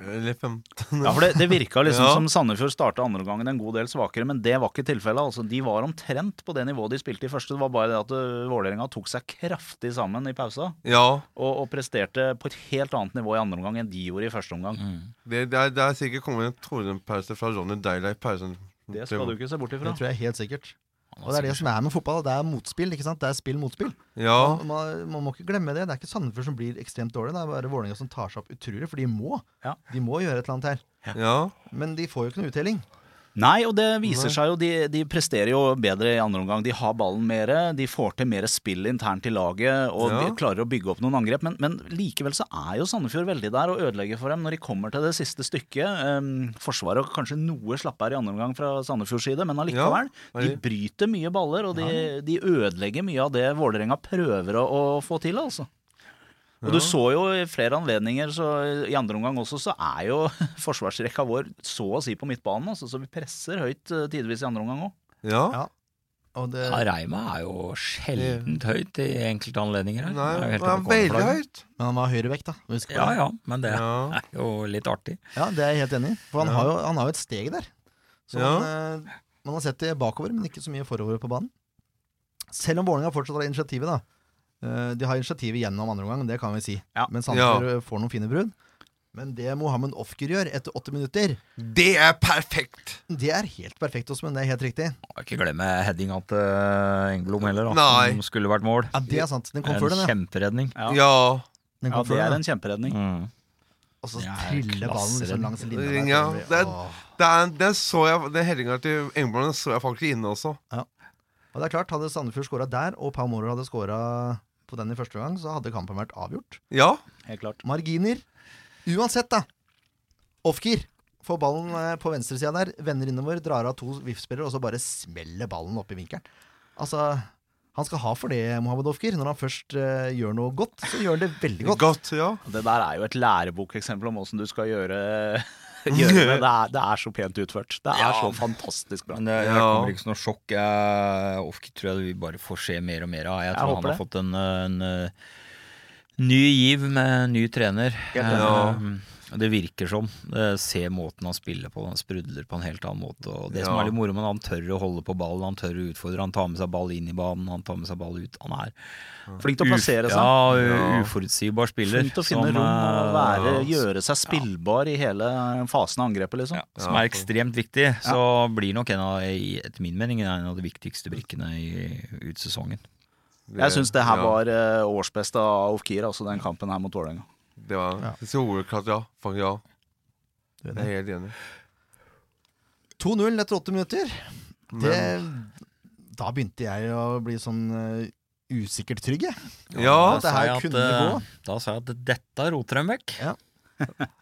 Speaker 6: Eller 15.
Speaker 7: Ja, for Det, det virka liksom
Speaker 6: Ja.
Speaker 7: som Sandefjord starta andre gangen en god del svakere, men det var ikke tilfellet. Altså, de var omtrent på det nivået de spilte i første. Det var bare det at øh, Vålerenga tok seg kraftig sammen i pausa
Speaker 6: Ja.
Speaker 7: og, og presterte på et helt annet nivå i andre omgang enn de gjorde i første omgang.
Speaker 6: Det, det, er, det er sikkert kommet en tordenpause fra Ronny Deila i pausen.
Speaker 7: Det skal du ikke se bort ifra.
Speaker 3: Det tror jeg helt sikkert.
Speaker 5: Han har
Speaker 3: Og det er det
Speaker 5: sikkert-
Speaker 3: som er med fotball. Det er motspill, ikke sant. Det er spill mot spill.
Speaker 6: Ja.
Speaker 3: Man, man, man må ikke glemme det. Det er ikke Sandefjord som blir ekstremt dårlig. Det er bare Vålerenga som tar seg opp utrolig, for de må.
Speaker 7: Ja.
Speaker 3: De må gjøre et eller annet her.
Speaker 6: Ja.
Speaker 3: Men de får jo ikke noe uttelling.
Speaker 7: Nei, og det viser seg jo, de, de presterer jo bedre i andre omgang. De har ballen mer, de får til mer spill internt i laget, og
Speaker 6: Ja.
Speaker 7: de klarer å bygge opp noen angrep. Men, men likevel så er jo Sandefjord veldig der og ødelegger for dem når de kommer til det siste stykket. Ehm, forsvaret kanskje noe slappere i andre omgang fra Sandefjords side, men allikevel.
Speaker 6: Ja,
Speaker 7: de
Speaker 6: de-
Speaker 7: bryter mye baller, og de, de ødelegger mye av det Vålerenga prøver å, å få til, altså. Og du så jo i flere anledninger, så i andre omgang også, så er jo forsvarsrekka vår så å si på midtbanen. Altså, så vi presser høyt eh, tidvis i andre omgang òg.
Speaker 6: Ja.
Speaker 3: Ja. Og det,
Speaker 5: ja, Reima er jo sjeldent høyt i enkelte anledninger her.
Speaker 6: Nei,
Speaker 5: Det er jo helt
Speaker 6: det er
Speaker 5: overkommelig for
Speaker 6: veldig
Speaker 5: dagen.
Speaker 6: høyt.
Speaker 3: men han var høyrevekt, da. Husk på
Speaker 5: Ja
Speaker 3: det.
Speaker 5: ja, men det
Speaker 6: Ja.
Speaker 5: er jo litt artig.
Speaker 3: ja, det er jeg helt enig i. For han,
Speaker 6: Ja.
Speaker 3: har jo, han har jo et steg der. Så
Speaker 6: Ja.
Speaker 3: man, eh, man har sett det bakover, men ikke så mye forover på banen. Selv om Vålerenga fortsatt har initiativet, da. Eh, De har initiativet gjennom andre omgang, det kan vi si.
Speaker 7: Ja.
Speaker 3: Men Sandefjord eh, får noen fine brudd. Men det Mohammed Ofker gjør etter åtte minutter,
Speaker 6: Det er perfekt!
Speaker 3: det er helt perfekt, Åsmund. Det er helt riktig.
Speaker 5: Og Ikke glemme headinga til Engblom heller, da,
Speaker 6: Nei.
Speaker 5: som skulle vært mål.
Speaker 3: Ja, det er sant. Den kom
Speaker 5: En
Speaker 3: før den, ja.
Speaker 5: kjemperedning.
Speaker 7: Ja.
Speaker 6: Ja.
Speaker 3: Den
Speaker 7: Ja,
Speaker 3: kom
Speaker 7: det
Speaker 3: før
Speaker 7: er
Speaker 3: den,
Speaker 7: en kjemperedning.
Speaker 5: Mm.
Speaker 3: og så
Speaker 5: Det er
Speaker 3: triller altså, ballen
Speaker 5: klasse,
Speaker 3: liksom
Speaker 5: den.
Speaker 3: langs linja. der.
Speaker 6: Ja,
Speaker 3: Det
Speaker 6: det
Speaker 3: blir-
Speaker 6: er-
Speaker 3: Åh.
Speaker 6: Den, den så jeg Den hellinga til Engblom den så jeg faktisk inne også.
Speaker 3: Og det er klart, hadde Sandefjord skåra der, og Pau Morer hadde skåra på den i første gang, så hadde kampen vært avgjort.
Speaker 6: Ja.
Speaker 7: Helt klart.
Speaker 3: Marginer. Uansett, da. Offgear. Får ballen eh, på venstresida der, vender innover, drar av to VIF-spillere, og så bare smeller ballen opp i vinkelen. Altså, han skal ha for det, Mohammed Offgear. Når han først eh, gjør noe godt, så gjør han det veldig godt.
Speaker 6: Godt, ja.
Speaker 7: Det der er jo et lærebokeksempel om åssen du skal gjøre, gjøre det. Det er, det er så pent utført. Det er så fantastisk bra.
Speaker 5: Men det, det
Speaker 6: Ja.
Speaker 5: kommer ikke som noe sjokk. Jeg Ofke tror jeg vi bare får se mer og mer av. Jeg
Speaker 7: Jeg
Speaker 5: tror
Speaker 7: håper
Speaker 5: han har
Speaker 7: det.
Speaker 5: fått en, eh, en eh, ny giv med en ny trener.
Speaker 6: Ja.
Speaker 5: Eh, Det virker som. Eh, Se måten han spiller på. Han sprudler på en helt annen måte. Og det som
Speaker 6: Ja.
Speaker 5: er litt moro, men han tør å holde på ballen, han tør å utfordre. Han tar med seg ball inn i banen, han tar med seg ball ut. Han er
Speaker 7: Flink til å plassere seg.
Speaker 5: Ja, u-
Speaker 6: Ja.
Speaker 5: uforutsigbar spiller.
Speaker 7: Flink til å finne
Speaker 5: som,
Speaker 7: rom og
Speaker 5: eh,
Speaker 7: være, gjøre seg spillbar i hele fasen av angrepet, liksom.
Speaker 5: ja, som er ekstremt viktig, så blir nok en av, i- etter min mening en av de viktigste brikkene i, ut sesongen.
Speaker 7: Jeg syns det her
Speaker 6: ja,
Speaker 7: var eh, årsbeste av Ofkir, altså den kampen her mot Vålerenga.
Speaker 6: Det var
Speaker 3: Ja.
Speaker 6: soleklart, ja. Fang, ja.
Speaker 3: Det er
Speaker 6: Jeg er helt enig.
Speaker 3: 2-0 etter åtte minutter. Det,
Speaker 6: Men,
Speaker 3: da begynte jeg å bli sånn eh, usikkert trygg, jeg.
Speaker 6: ja,
Speaker 5: Da sa
Speaker 3: her
Speaker 5: jeg at,
Speaker 3: kunne
Speaker 5: eh,
Speaker 3: gå.
Speaker 5: Da sa jeg at dette roter dem vekk.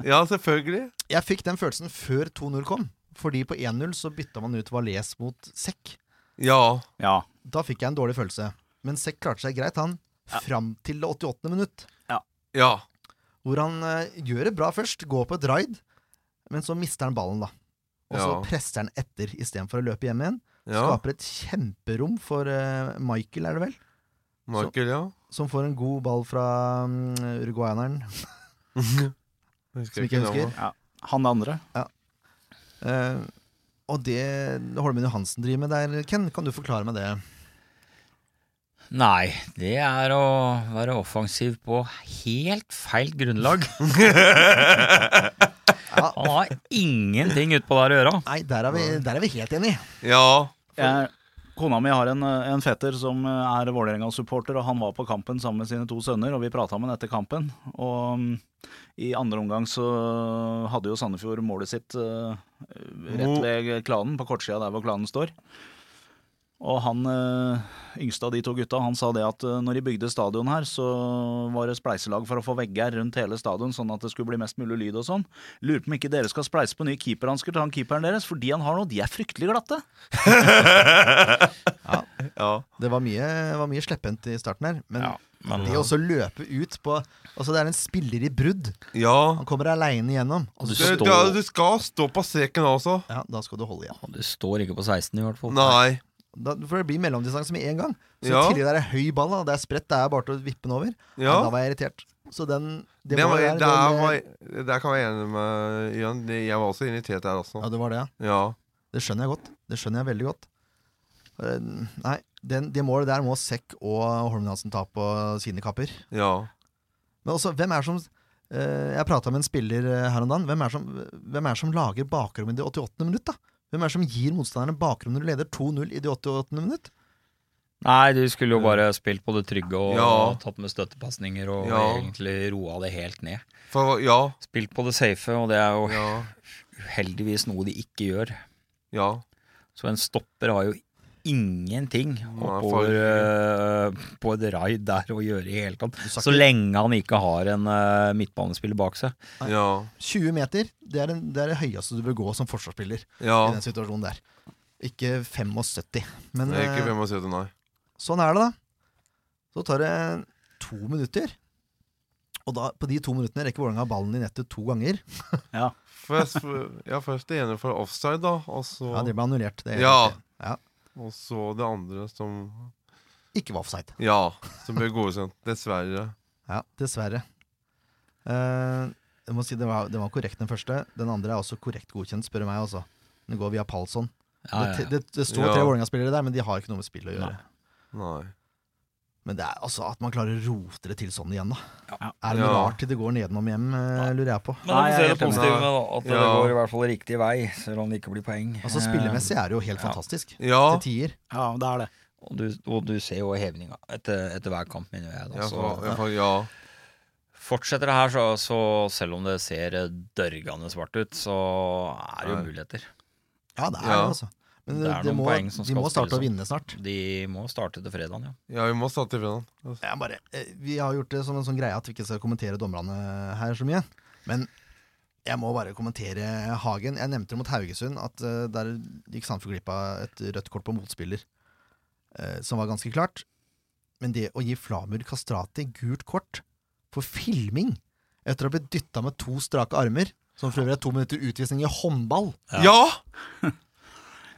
Speaker 6: ja, selvfølgelig.
Speaker 3: Jeg fikk den følelsen før 2-0 kom. Fordi på 1-0 så bytta man ut Valais mot Sekk.
Speaker 6: Ja.
Speaker 7: Ja.
Speaker 3: Da fikk jeg en dårlig følelse. Men Sekk klarte seg greit, han. Fram til det 88. minutt.
Speaker 6: Ja.
Speaker 3: Hvor han eh, gjør det bra først, går på et raid, men så mister han ballen, da. Og så
Speaker 6: Ja.
Speaker 3: presser han etter istedenfor å løpe hjem igjen.
Speaker 6: ja.
Speaker 3: Skaper et kjemperom for eh, Michael, er det vel,
Speaker 6: Michael, ja.
Speaker 3: som får en god ball fra um, uruguayaneren. Som ikke
Speaker 6: navnet.
Speaker 3: husker.
Speaker 7: Han andre.
Speaker 3: Eh, og det Holmen Johansen driver med der, Ken, kan du forklare meg det?
Speaker 5: Nei, det er å være offensiv på helt feil grunnlag.
Speaker 3: Ja,
Speaker 5: Han har ingenting utpå der å gjøre.
Speaker 3: nei, der er vi, der er vi helt enige.
Speaker 6: Ja.
Speaker 7: Jeg, kona mi har en, eh, en fetter som eh, er Vålerenga-supporter, og han var på kampen sammen med sine to sønner, og vi prata med ham etter kampen. Og mm, i andre omgang så hadde jo Sandefjord målet sitt eh, rett ved klanen, på kortsida der hvor klanen står. Og han eh, yngste av de to gutta, han sa det at eh, når de bygde stadion her, så var det spleiselag for å få vegger rundt hele stadion, sånn at det skulle bli mest mulig lyd og sånn. Lurer på om ikke dere skal spleise på nye keeperhansker til han keeperen deres, for de han har nå, de er fryktelig glatte.
Speaker 3: Det var mye, var mye slepphendt i starten her, men
Speaker 5: men-
Speaker 3: det å så løpe ut på Altså, det er en spiller i brudd.
Speaker 6: ja.
Speaker 3: Han kommer aleine igjennom, og
Speaker 5: Du
Speaker 3: så,
Speaker 5: Stå-
Speaker 6: Du, da- du skal stå på streken også.
Speaker 3: ja, da skal du holde igjen.
Speaker 5: Du står ikke på 16 i hvert fall.
Speaker 6: Nei.
Speaker 3: da, For det blir mellomdistanse med en gang Så
Speaker 6: Ja.
Speaker 3: i tillegg er det høy ball da. Det er spredt, det er bare til å vippe den over ja. Da
Speaker 6: Ja.
Speaker 3: var jeg irritert Så den, det
Speaker 6: Det
Speaker 3: var,
Speaker 6: var,
Speaker 3: der,
Speaker 6: der,
Speaker 3: det med-
Speaker 6: var, der kan jeg være enig med Jørn. Det- Jeg var også irritert der også.
Speaker 3: Ja, det var det, ja
Speaker 6: Ja.
Speaker 3: Det skjønner jeg godt Det skjønner jeg veldig godt Eh, Nei, den, det målet der må Sekk og Holmen Hansen ta på sine kapper
Speaker 6: Ja.
Speaker 3: Men også, hvem er som eh, Jeg pratet med en spiller eh, her om dagen Hvem er som, hvem er som lager bakrom i det 88. minutt da? Hvem er som gir motstanderen bakrom når du leder 2-0 i det 88. minutt?
Speaker 5: Nei, du skulle jo bare spilt på det trygge og
Speaker 6: Ja.
Speaker 5: tatt med støttepasninger og
Speaker 6: Ja.
Speaker 5: egentlig roa det helt ned.
Speaker 6: For, ja.
Speaker 5: Spilt på det safe, og det er jo
Speaker 6: Ja.
Speaker 5: heldigvis noe de ikke gjør.
Speaker 6: Ja.
Speaker 5: Så en stopper har jo ingenting oppover eh, på et raid der å gjøre i hele tatt.
Speaker 3: Du sa
Speaker 5: Så
Speaker 3: ikke
Speaker 5: lenge han ikke har en eh, midtbanespiller bak seg.
Speaker 6: Ja.
Speaker 3: 20 meter Det er, en, det er det høyeste du bør gå som forsvarsspiller
Speaker 6: Ja.
Speaker 3: i den situasjonen der. Ikke 75, men
Speaker 6: Det er ikke
Speaker 3: eh,
Speaker 6: hvem å si det, nei.
Speaker 3: sånn er det, da. Så tar det to minutter. Og da, på de to minuttene rekker Vålerenga ballen i nettet to ganger.
Speaker 6: Først, ja, først det ene for offside, da. Og så,
Speaker 3: Ja, Det ble annullert. Det,
Speaker 6: Ja.
Speaker 3: Ja.
Speaker 6: og så det andre som
Speaker 3: Ikke var offside.
Speaker 6: Ja, som ble godkjent. Dessverre.
Speaker 3: Ja, dessverre. Eh, jeg må si det var, det var korrekt, den første. Den andre er også korrekt godkjent, spør du meg. altså. Den går via Palsson.
Speaker 5: Ja, ja,
Speaker 3: Det,
Speaker 5: ja.
Speaker 3: det, det står
Speaker 6: Ja.
Speaker 3: tre Vålerenga-spillere der, men de har ikke noe med spill å gjøre.
Speaker 6: Nei.
Speaker 3: Men det er altså at man klarer å rote det til sånn igjen, da.
Speaker 5: Ja.
Speaker 3: Er det noe
Speaker 6: Ja.
Speaker 3: rart til det går nedenom hjem, eh, lurer jeg på.
Speaker 5: Men da
Speaker 7: Nei, jeg er
Speaker 5: får vi se det
Speaker 7: helt
Speaker 6: enig.
Speaker 5: positive med da, at det
Speaker 6: Ja.
Speaker 5: går i hvert fall riktig vei, selv om det ikke blir poeng.
Speaker 3: Altså Spillemessig er det jo helt fantastisk.
Speaker 6: Ja.
Speaker 3: Til tier.
Speaker 7: Ja, det er det.
Speaker 5: Eh, Og du, og du ser jo hevninga etter, etter hver kamp, mener jeg. Da,
Speaker 6: Ja,
Speaker 5: så,
Speaker 6: for, ja, for, ja.
Speaker 5: Fortsetter det her, så, så selv om det ser eh, dørgende svart ut, så er det jo
Speaker 6: Ja.
Speaker 5: muligheter.
Speaker 3: Ja, det er
Speaker 6: Ja.
Speaker 3: det, altså. Men
Speaker 5: Det er
Speaker 3: de
Speaker 5: noen
Speaker 3: må,
Speaker 5: poeng som
Speaker 3: de
Speaker 5: skal
Speaker 3: må starte å
Speaker 5: spilles
Speaker 3: vinne snart.
Speaker 5: De må starte til fredagen, ja.
Speaker 6: Ja, vi må starte i fredag. Altså.
Speaker 3: Jeg bare, eh, vi har gjort det som en sånn greie at vi ikke skal kommentere dommerne her så mye. Men jeg må bare kommentere Hagen. Jeg nevnte det mot Haugesund, at eh, der gikk Sandefjord glipp av et rødt kort på motspiller, eh, som var ganske klart. Men det å gi Flamur Kastrati gult kort for filming etter å ha blitt dytta med to strake armer, som for øvrig er to minutter utvisning i håndball
Speaker 6: Ja!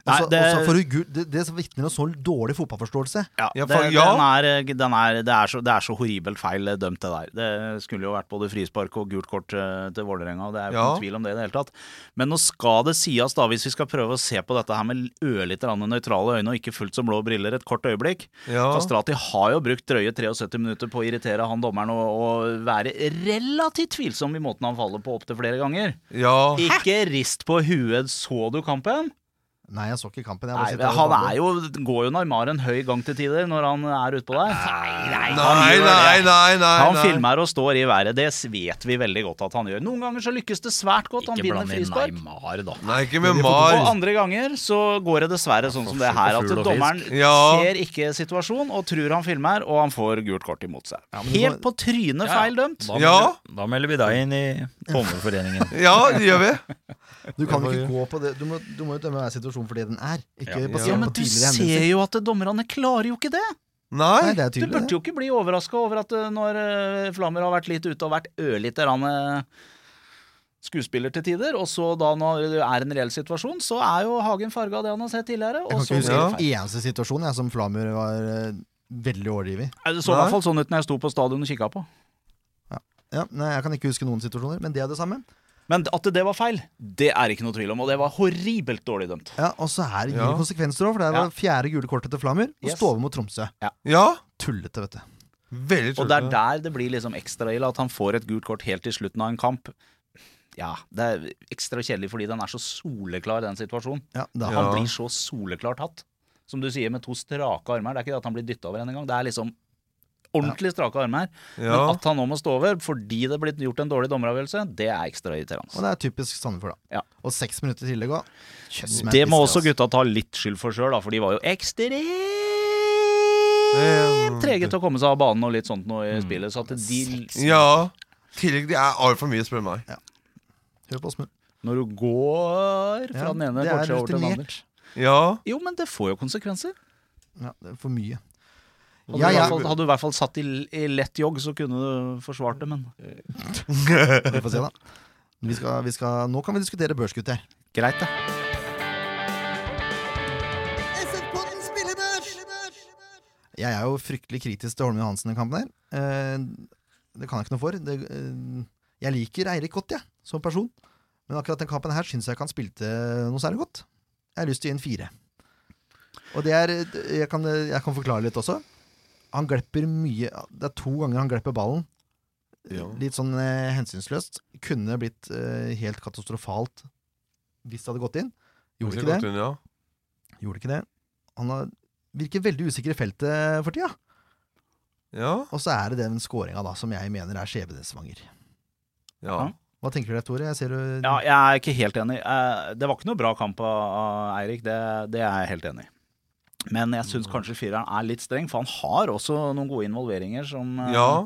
Speaker 7: Nei,
Speaker 3: Altså,
Speaker 7: det-
Speaker 3: altså for å gu- det, det som vitner om så dårlig fotballforståelse.
Speaker 7: Ja,
Speaker 6: Ja,
Speaker 7: det,
Speaker 6: for- ja.
Speaker 7: Den er, eh, den er, det, er så, det er så horribelt feil eh, dømt, det der. Det skulle jo vært både frispark og gult kort eh, til Vålerenga, og det er jo ikke
Speaker 6: Ja.
Speaker 7: noen tvil om det i det hele tatt. Men nå skal det sies, da, hvis vi skal prøve å se på dette her med ørlite grann nøytrale øyne og ikke fullt som blå briller et kort øyeblikk.
Speaker 6: Ja.
Speaker 7: Kastrati har jo brukt drøye 73 minutter på å irritere han dommeren og, og være relativt tvilsom i måten han faller på opptil flere ganger.
Speaker 6: ja.
Speaker 7: Ikke rist på huet, så du kampen?
Speaker 3: Nei, jeg så ikke kampen. Jeg bare
Speaker 7: Nei,
Speaker 3: sitter her og
Speaker 7: han
Speaker 3: babler.
Speaker 7: er jo, går jo Narmar en høy gang til tider når han er utpå der.
Speaker 6: Nei, nei, nei, nei, nei.
Speaker 7: Han filmer og står i været, det vet vi veldig godt at han gjør. Noen ganger så lykkes det svært godt, han
Speaker 5: Ikke
Speaker 7: vinner
Speaker 5: blande inn
Speaker 7: frispark.
Speaker 5: Neymar, da.
Speaker 6: Nei, ikke med
Speaker 7: Og
Speaker 6: Mar.
Speaker 7: andre ganger så går det dessverre sånn som det her, at
Speaker 5: Fugl og
Speaker 7: dommeren
Speaker 5: fisk.
Speaker 6: Ja.
Speaker 7: ser ikke situasjonen og tror han filmer, og han får gult kort imot seg.
Speaker 3: Ja, men du
Speaker 7: Helt
Speaker 3: må-
Speaker 7: på trynet feil dømt.
Speaker 5: Da,
Speaker 6: Ja.
Speaker 5: melder- da melder vi deg inn i Dommerforeningen.
Speaker 6: Ja, det gjør vi.
Speaker 3: Du kan jo
Speaker 6: Jeg
Speaker 3: ikke gå på det. Du må, du må jo dømme hver situasjon for det den er. Ikke
Speaker 5: Ja.
Speaker 3: basert
Speaker 7: Ja, men
Speaker 3: på
Speaker 7: du
Speaker 3: tidligere
Speaker 7: ser
Speaker 3: hendelser.
Speaker 7: jo at dommerne klarer jo ikke det.
Speaker 6: Nei.
Speaker 3: Nei, det er
Speaker 7: Du
Speaker 3: tydelig.
Speaker 7: burde jo ikke bli overraska over at eh, når eh, Flammer har vært litt ute og vært ørlite grann eh, skuespiller til tider, og så da når det er en reell situasjon, så er jo Hagen farga av det han har sett tidligere.
Speaker 3: Jeg
Speaker 7: Og
Speaker 3: kan
Speaker 7: så
Speaker 3: ikke huske
Speaker 6: Ja.
Speaker 3: en eneste situasjon jeg, som Flamur var eh, veldig overdrevet i.
Speaker 7: Det så i
Speaker 6: Nei.
Speaker 7: hvert fall sånn ut når jeg sto på stadion og kikka på.
Speaker 3: Ja, nei, jeg kan ikke huske noen situasjoner, men det er det samme.
Speaker 7: Men at det var feil, det er ikke noe tvil om, og det var horribelt dårlig dømt.
Speaker 3: Ja, Og så er det gir
Speaker 6: Ja.
Speaker 3: det konsekvenser òg, for det
Speaker 7: Ja.
Speaker 3: var fjerde gule kortet til Flamur. Og
Speaker 7: Yes.
Speaker 3: Stove mot Tromsø.
Speaker 6: Ja.
Speaker 3: Tullete, vet du.
Speaker 6: Veldig
Speaker 7: Og det er
Speaker 6: tullete.
Speaker 7: der det blir liksom ekstra ille at han får et gult kort helt til slutten av en kamp. Ja, det er ekstra kjedelig fordi den er så soleklar, den situasjonen.
Speaker 3: Ja, da.
Speaker 7: Han
Speaker 6: Ja.
Speaker 7: blir så soleklart hatt. Som du sier, med to strake armer. Det er ikke det at han blir dytta over en gang. Det er liksom ordentlig strake armer.
Speaker 6: Ja.
Speaker 7: Men at han nå må stå over fordi det er blitt gjort en dårlig dommeravgjørelse, det er ekstra irriterende.
Speaker 3: Og det er typisk Sandefjord, da.
Speaker 7: Ja.
Speaker 3: Og seks minutter til det går. Kjøss meg
Speaker 7: Det må
Speaker 3: piste,
Speaker 7: også
Speaker 3: altså.
Speaker 7: gutta ta litt skyld for sjøl, for de var jo ekstremt trege til å komme seg av banen og litt sånt noe
Speaker 6: Mm.
Speaker 7: i spillet. Så at de
Speaker 6: Ja. I tillegg, det er altfor mye, spør du meg.
Speaker 3: Hør på Åsmund.
Speaker 7: Når du går fra
Speaker 3: Ja,
Speaker 7: den ene
Speaker 3: det er
Speaker 7: kortsida over til den andre
Speaker 3: rutinert.
Speaker 6: Ja.
Speaker 7: Jo, men det får jo konsekvenser.
Speaker 3: Ja, det er for mye.
Speaker 7: Hadde,
Speaker 3: Ja,
Speaker 7: du, i
Speaker 3: ja.
Speaker 7: hvert fall, hadde du i hvert fall satt i, i lett jogg, så kunne du forsvart det, men
Speaker 3: Vi får se, da. Vi skal, vi skal, nå kan vi diskutere børsgutter.
Speaker 7: greit, det.
Speaker 3: Jeg er jo fryktelig kritisk til Holmen Johansen i kampen her. Eh, Det kan jeg ikke noe for. Det, eh, jeg liker Eirik godt, jeg, som person. Men akkurat den kampen her syns jeg ikke han spilte noe særlig godt. Jeg har lyst til å gi en fire. Og det er Jeg kan, jeg kan forklare litt også. Han glepper mye Det er to ganger han glepper ballen.
Speaker 6: Ja.
Speaker 3: Litt sånn eh, hensynsløst. Kunne blitt eh, helt katastrofalt hvis det hadde gått inn. Gjorde ikke det.
Speaker 6: Godt inn, ja.
Speaker 3: Gjorde ikke det. Han har, virker veldig usikker i feltet for tida.
Speaker 6: Ja.
Speaker 3: Og så er det den skåringa da, som jeg mener er skjebnesvanger.
Speaker 6: ja.
Speaker 3: Hva tenker du deg, Tore? Jeg ser du
Speaker 7: Ja, jeg er ikke helt enig. Eh, Det var ikke noe bra kamp av av Eirik, det, det er jeg helt enig i. Men jeg syns
Speaker 5: Mm.
Speaker 7: kanskje fireren er litt streng, for han har også noen gode involveringer som eh,
Speaker 6: Ja.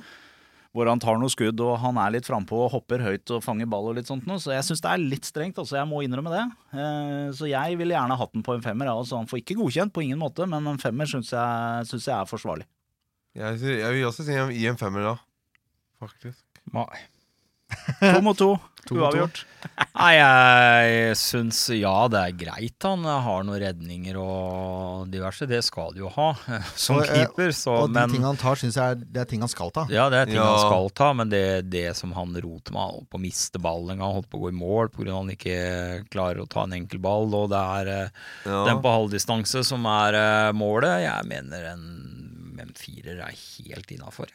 Speaker 7: hvor han tar noen skudd og han er litt frampå og hopper høyt og fanger ball og litt sånt noe. Så jeg syns det er litt strengt, altså. Jeg må innrømme det. Eh, Så jeg ville gjerne hatt den på en femmer, ja, altså. Han får ikke godkjent på ingen måte, men en femmer syns jeg, synes jeg er forsvarlig.
Speaker 6: Jeg, sier- jeg vil også si en- i en femmer, da. Faktisk.
Speaker 5: Nei.
Speaker 7: To mot to.
Speaker 3: mot to.
Speaker 7: Uavgjort.
Speaker 5: Nei, jeg syns ja, det er greit han har noen redninger og diverse. Det skal du jo ha som
Speaker 3: Og, eh,
Speaker 5: keeper, så
Speaker 3: Og de
Speaker 5: men
Speaker 3: tingene han tar, syns jeg er, det er ting han skal ta.
Speaker 5: Ja, det er ting han
Speaker 6: Ja.
Speaker 5: skal ta, men det, det som han roter med, han holdt på å miste ballen en gang, holdt på å gå i mål pga. han ikke klarer å ta en enkel ball, og det er eh,
Speaker 6: Ja.
Speaker 5: den på halvdistanse som er eh, målet. Jeg mener en, en firer er helt innafor.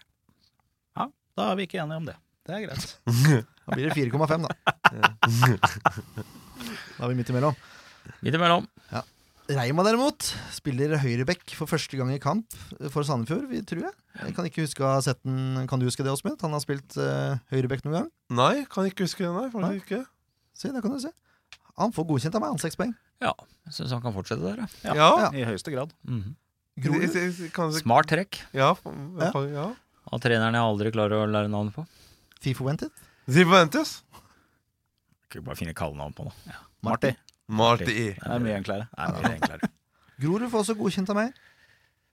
Speaker 7: Da er vi ikke enige om det. Det er greit.
Speaker 3: Da blir det 4,5, da. Da er vi midt imellom.
Speaker 5: Midt imellom.
Speaker 3: Reima derimot spiller høyreback for første gang i kamp for Sandefjord, vi- tror jeg. Jeg kan ikke huske å ha sett den. Kan du huske det, Åsmund? Han har spilt uh, høyreback noen gang.
Speaker 6: Nei, kan ikke huske det. Nei,
Speaker 3: Nei.
Speaker 6: faktisk ikke.
Speaker 3: Se, der kan du se. Han får godkjent av meg, han seks poeng.
Speaker 5: Jeg syns han kan fortsette der. ja.
Speaker 6: Ja.
Speaker 3: Ja.
Speaker 7: I høyeste grad.
Speaker 5: Mhm.
Speaker 3: Grorud.
Speaker 6: Jeg- jeg- jeg- kan-
Speaker 5: Smart trekk
Speaker 6: Ja. fa-
Speaker 3: Ja.
Speaker 6: fa- ja.
Speaker 5: av treneren jeg aldri klarer å lære navnet på.
Speaker 3: Fifo ventet.
Speaker 6: Zivantes.
Speaker 5: Kan ikke bare finne kallenavn på det.
Speaker 7: Marty.
Speaker 6: Marti.
Speaker 7: Det er mye enklere.
Speaker 5: Det er mye enklere.
Speaker 3: Grorud får også godkjent av meg.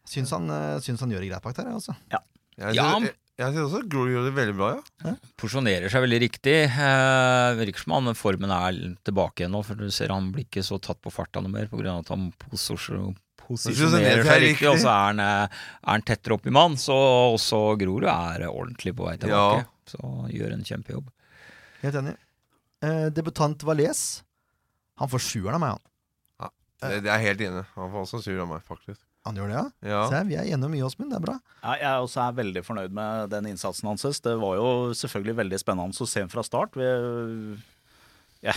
Speaker 3: Syns han, eh, syns han gjør det greit bak der, jeg også.
Speaker 6: Jeg
Speaker 5: Ja.
Speaker 6: syns jeg, jeg synes også Grorud gjorde det veldig bra, ja.
Speaker 5: Porsjonerer seg veldig riktig. Eh, virker som han formen er tilbake igjen nå, for du ser han blir ikke så tatt på farta noe mer pga. at han posisjo- posisjonerer seg riktig, og så er han, eh, er han tettere opp i mann. Så også Grorud er ordentlig på vei tilbake.
Speaker 6: Ja.
Speaker 5: Så gjør en kjempejobb.
Speaker 3: Helt enig. Eh, debutant Valais. Han får sjueren av meg, han.
Speaker 6: Det, det er jeg helt enig. Han var også sur av meg, faktisk.
Speaker 3: Han gjør det, ja?
Speaker 6: Ja.
Speaker 3: Se, vi er enige om mye, Åsmund. Det er bra.
Speaker 7: Ja, jeg også er veldig fornøyd med den innsatsen hans. Det var jo selvfølgelig veldig spennende å se ham fra start. Vi, jeg,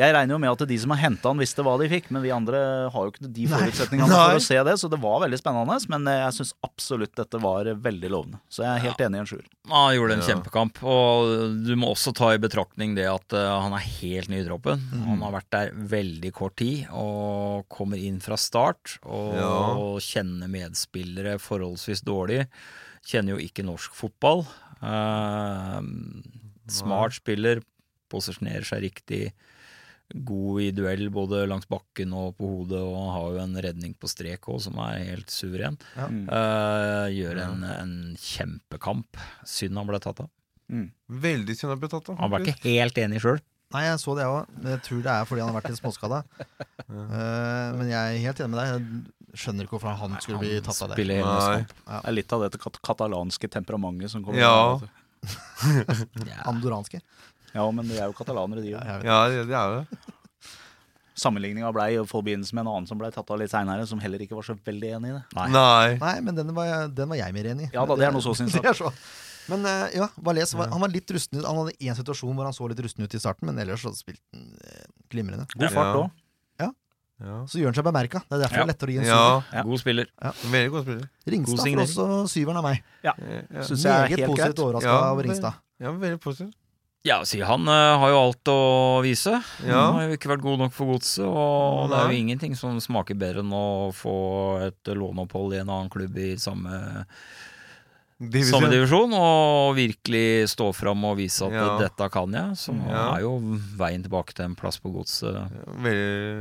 Speaker 7: jeg regner jo med at de som har henta han visste hva de fikk, men vi andre har jo ikke de
Speaker 3: Nei.
Speaker 7: forutsetningene
Speaker 3: Nei.
Speaker 7: for å se det. Så det var veldig spennende, men jeg syns absolutt dette var veldig lovende. Så jeg er helt enig i en sjuer.
Speaker 5: Han gjorde en
Speaker 6: Ja.
Speaker 5: kjempekamp, og du må også ta i betraktning det at eh, han er helt ny i troppen.
Speaker 6: Mhm.
Speaker 5: Han har vært der veldig kort tid, og kommer inn fra start og
Speaker 6: Ja.
Speaker 5: kjenner medspillere forholdsvis dårlig. Kjenner jo ikke norsk fotball. Eh, smart spiller, posisjonerer seg riktig. God i duell både langs bakken og på hodet, og han har jo en redning på strek òg som er helt suveren.
Speaker 3: Ja.
Speaker 7: Mm.
Speaker 5: Eh, gjør en, en kjempekamp. Synd han ble tatt av.
Speaker 6: Veldig synd å bli tatt av.
Speaker 5: Han var
Speaker 6: faktisk.
Speaker 5: ikke helt enig sjøl.
Speaker 3: Nei, jeg så det òg. Men jeg tror det er fordi han har vært litt småskada. Eh, men jeg er helt enig med deg. Jeg skjønner ikke hvorfor han skulle bli tatt av det.
Speaker 5: Spiller hele
Speaker 6: Nei.
Speaker 5: kamp.
Speaker 7: Det er litt av dette kat katalanske temperamentet som kommer.
Speaker 6: Ja.
Speaker 7: inn.
Speaker 5: Ja.
Speaker 3: Andoranske.
Speaker 7: ja, men de er jo katalanere, de
Speaker 3: Ja,
Speaker 7: òg.
Speaker 3: jeg vet.
Speaker 6: Ja, det, det er det.
Speaker 7: Sammenligninga blei i forbindelse med en annen som blei tatt av litt seinere, som heller ikke var så veldig enig i det.
Speaker 5: Nei.
Speaker 6: Nei.
Speaker 3: Nei, men den var, jeg- den var jeg mer enig i.
Speaker 7: Ja da, det er noe så sin sak.
Speaker 3: Det er så. Men eh, ja, Valais var, han var litt rusten ut. Han hadde én situasjon hvor han så litt rusten ut i starten, men ellers så spilte han eh, glimrende.
Speaker 7: God fart
Speaker 6: Ja.
Speaker 7: òg.
Speaker 6: Ja.
Speaker 3: Så gjør han seg bemerka. Det er derfor det
Speaker 5: Ja.
Speaker 3: er lettere å gi en syver.
Speaker 6: ja.
Speaker 5: God spiller.
Speaker 6: Veldig god spiller.
Speaker 3: Ringstad får
Speaker 5: signering.
Speaker 3: også syveren av meg.
Speaker 6: Ja,
Speaker 7: Synes jeg er
Speaker 3: Meget
Speaker 7: helt greit.
Speaker 3: positivt overraska
Speaker 6: Ja,
Speaker 3: over
Speaker 6: det-
Speaker 3: Ringstad.
Speaker 6: ja veldig positiv.
Speaker 5: Ja, si han eh, har jo alt å vise. Han
Speaker 6: Ja.
Speaker 5: har jo ikke vært god nok for godset, og det er
Speaker 6: Nei.
Speaker 5: jo ingenting som smaker bedre enn å få et låneopphold i en annen klubb i samme,
Speaker 6: Divisjon.
Speaker 5: samme divisjon, og virkelig stå fram og vise at
Speaker 6: Ja.
Speaker 5: dette kan jeg. Så
Speaker 6: Ja.
Speaker 5: er jo veien tilbake til en plass på godset.
Speaker 6: Ja,
Speaker 5: Men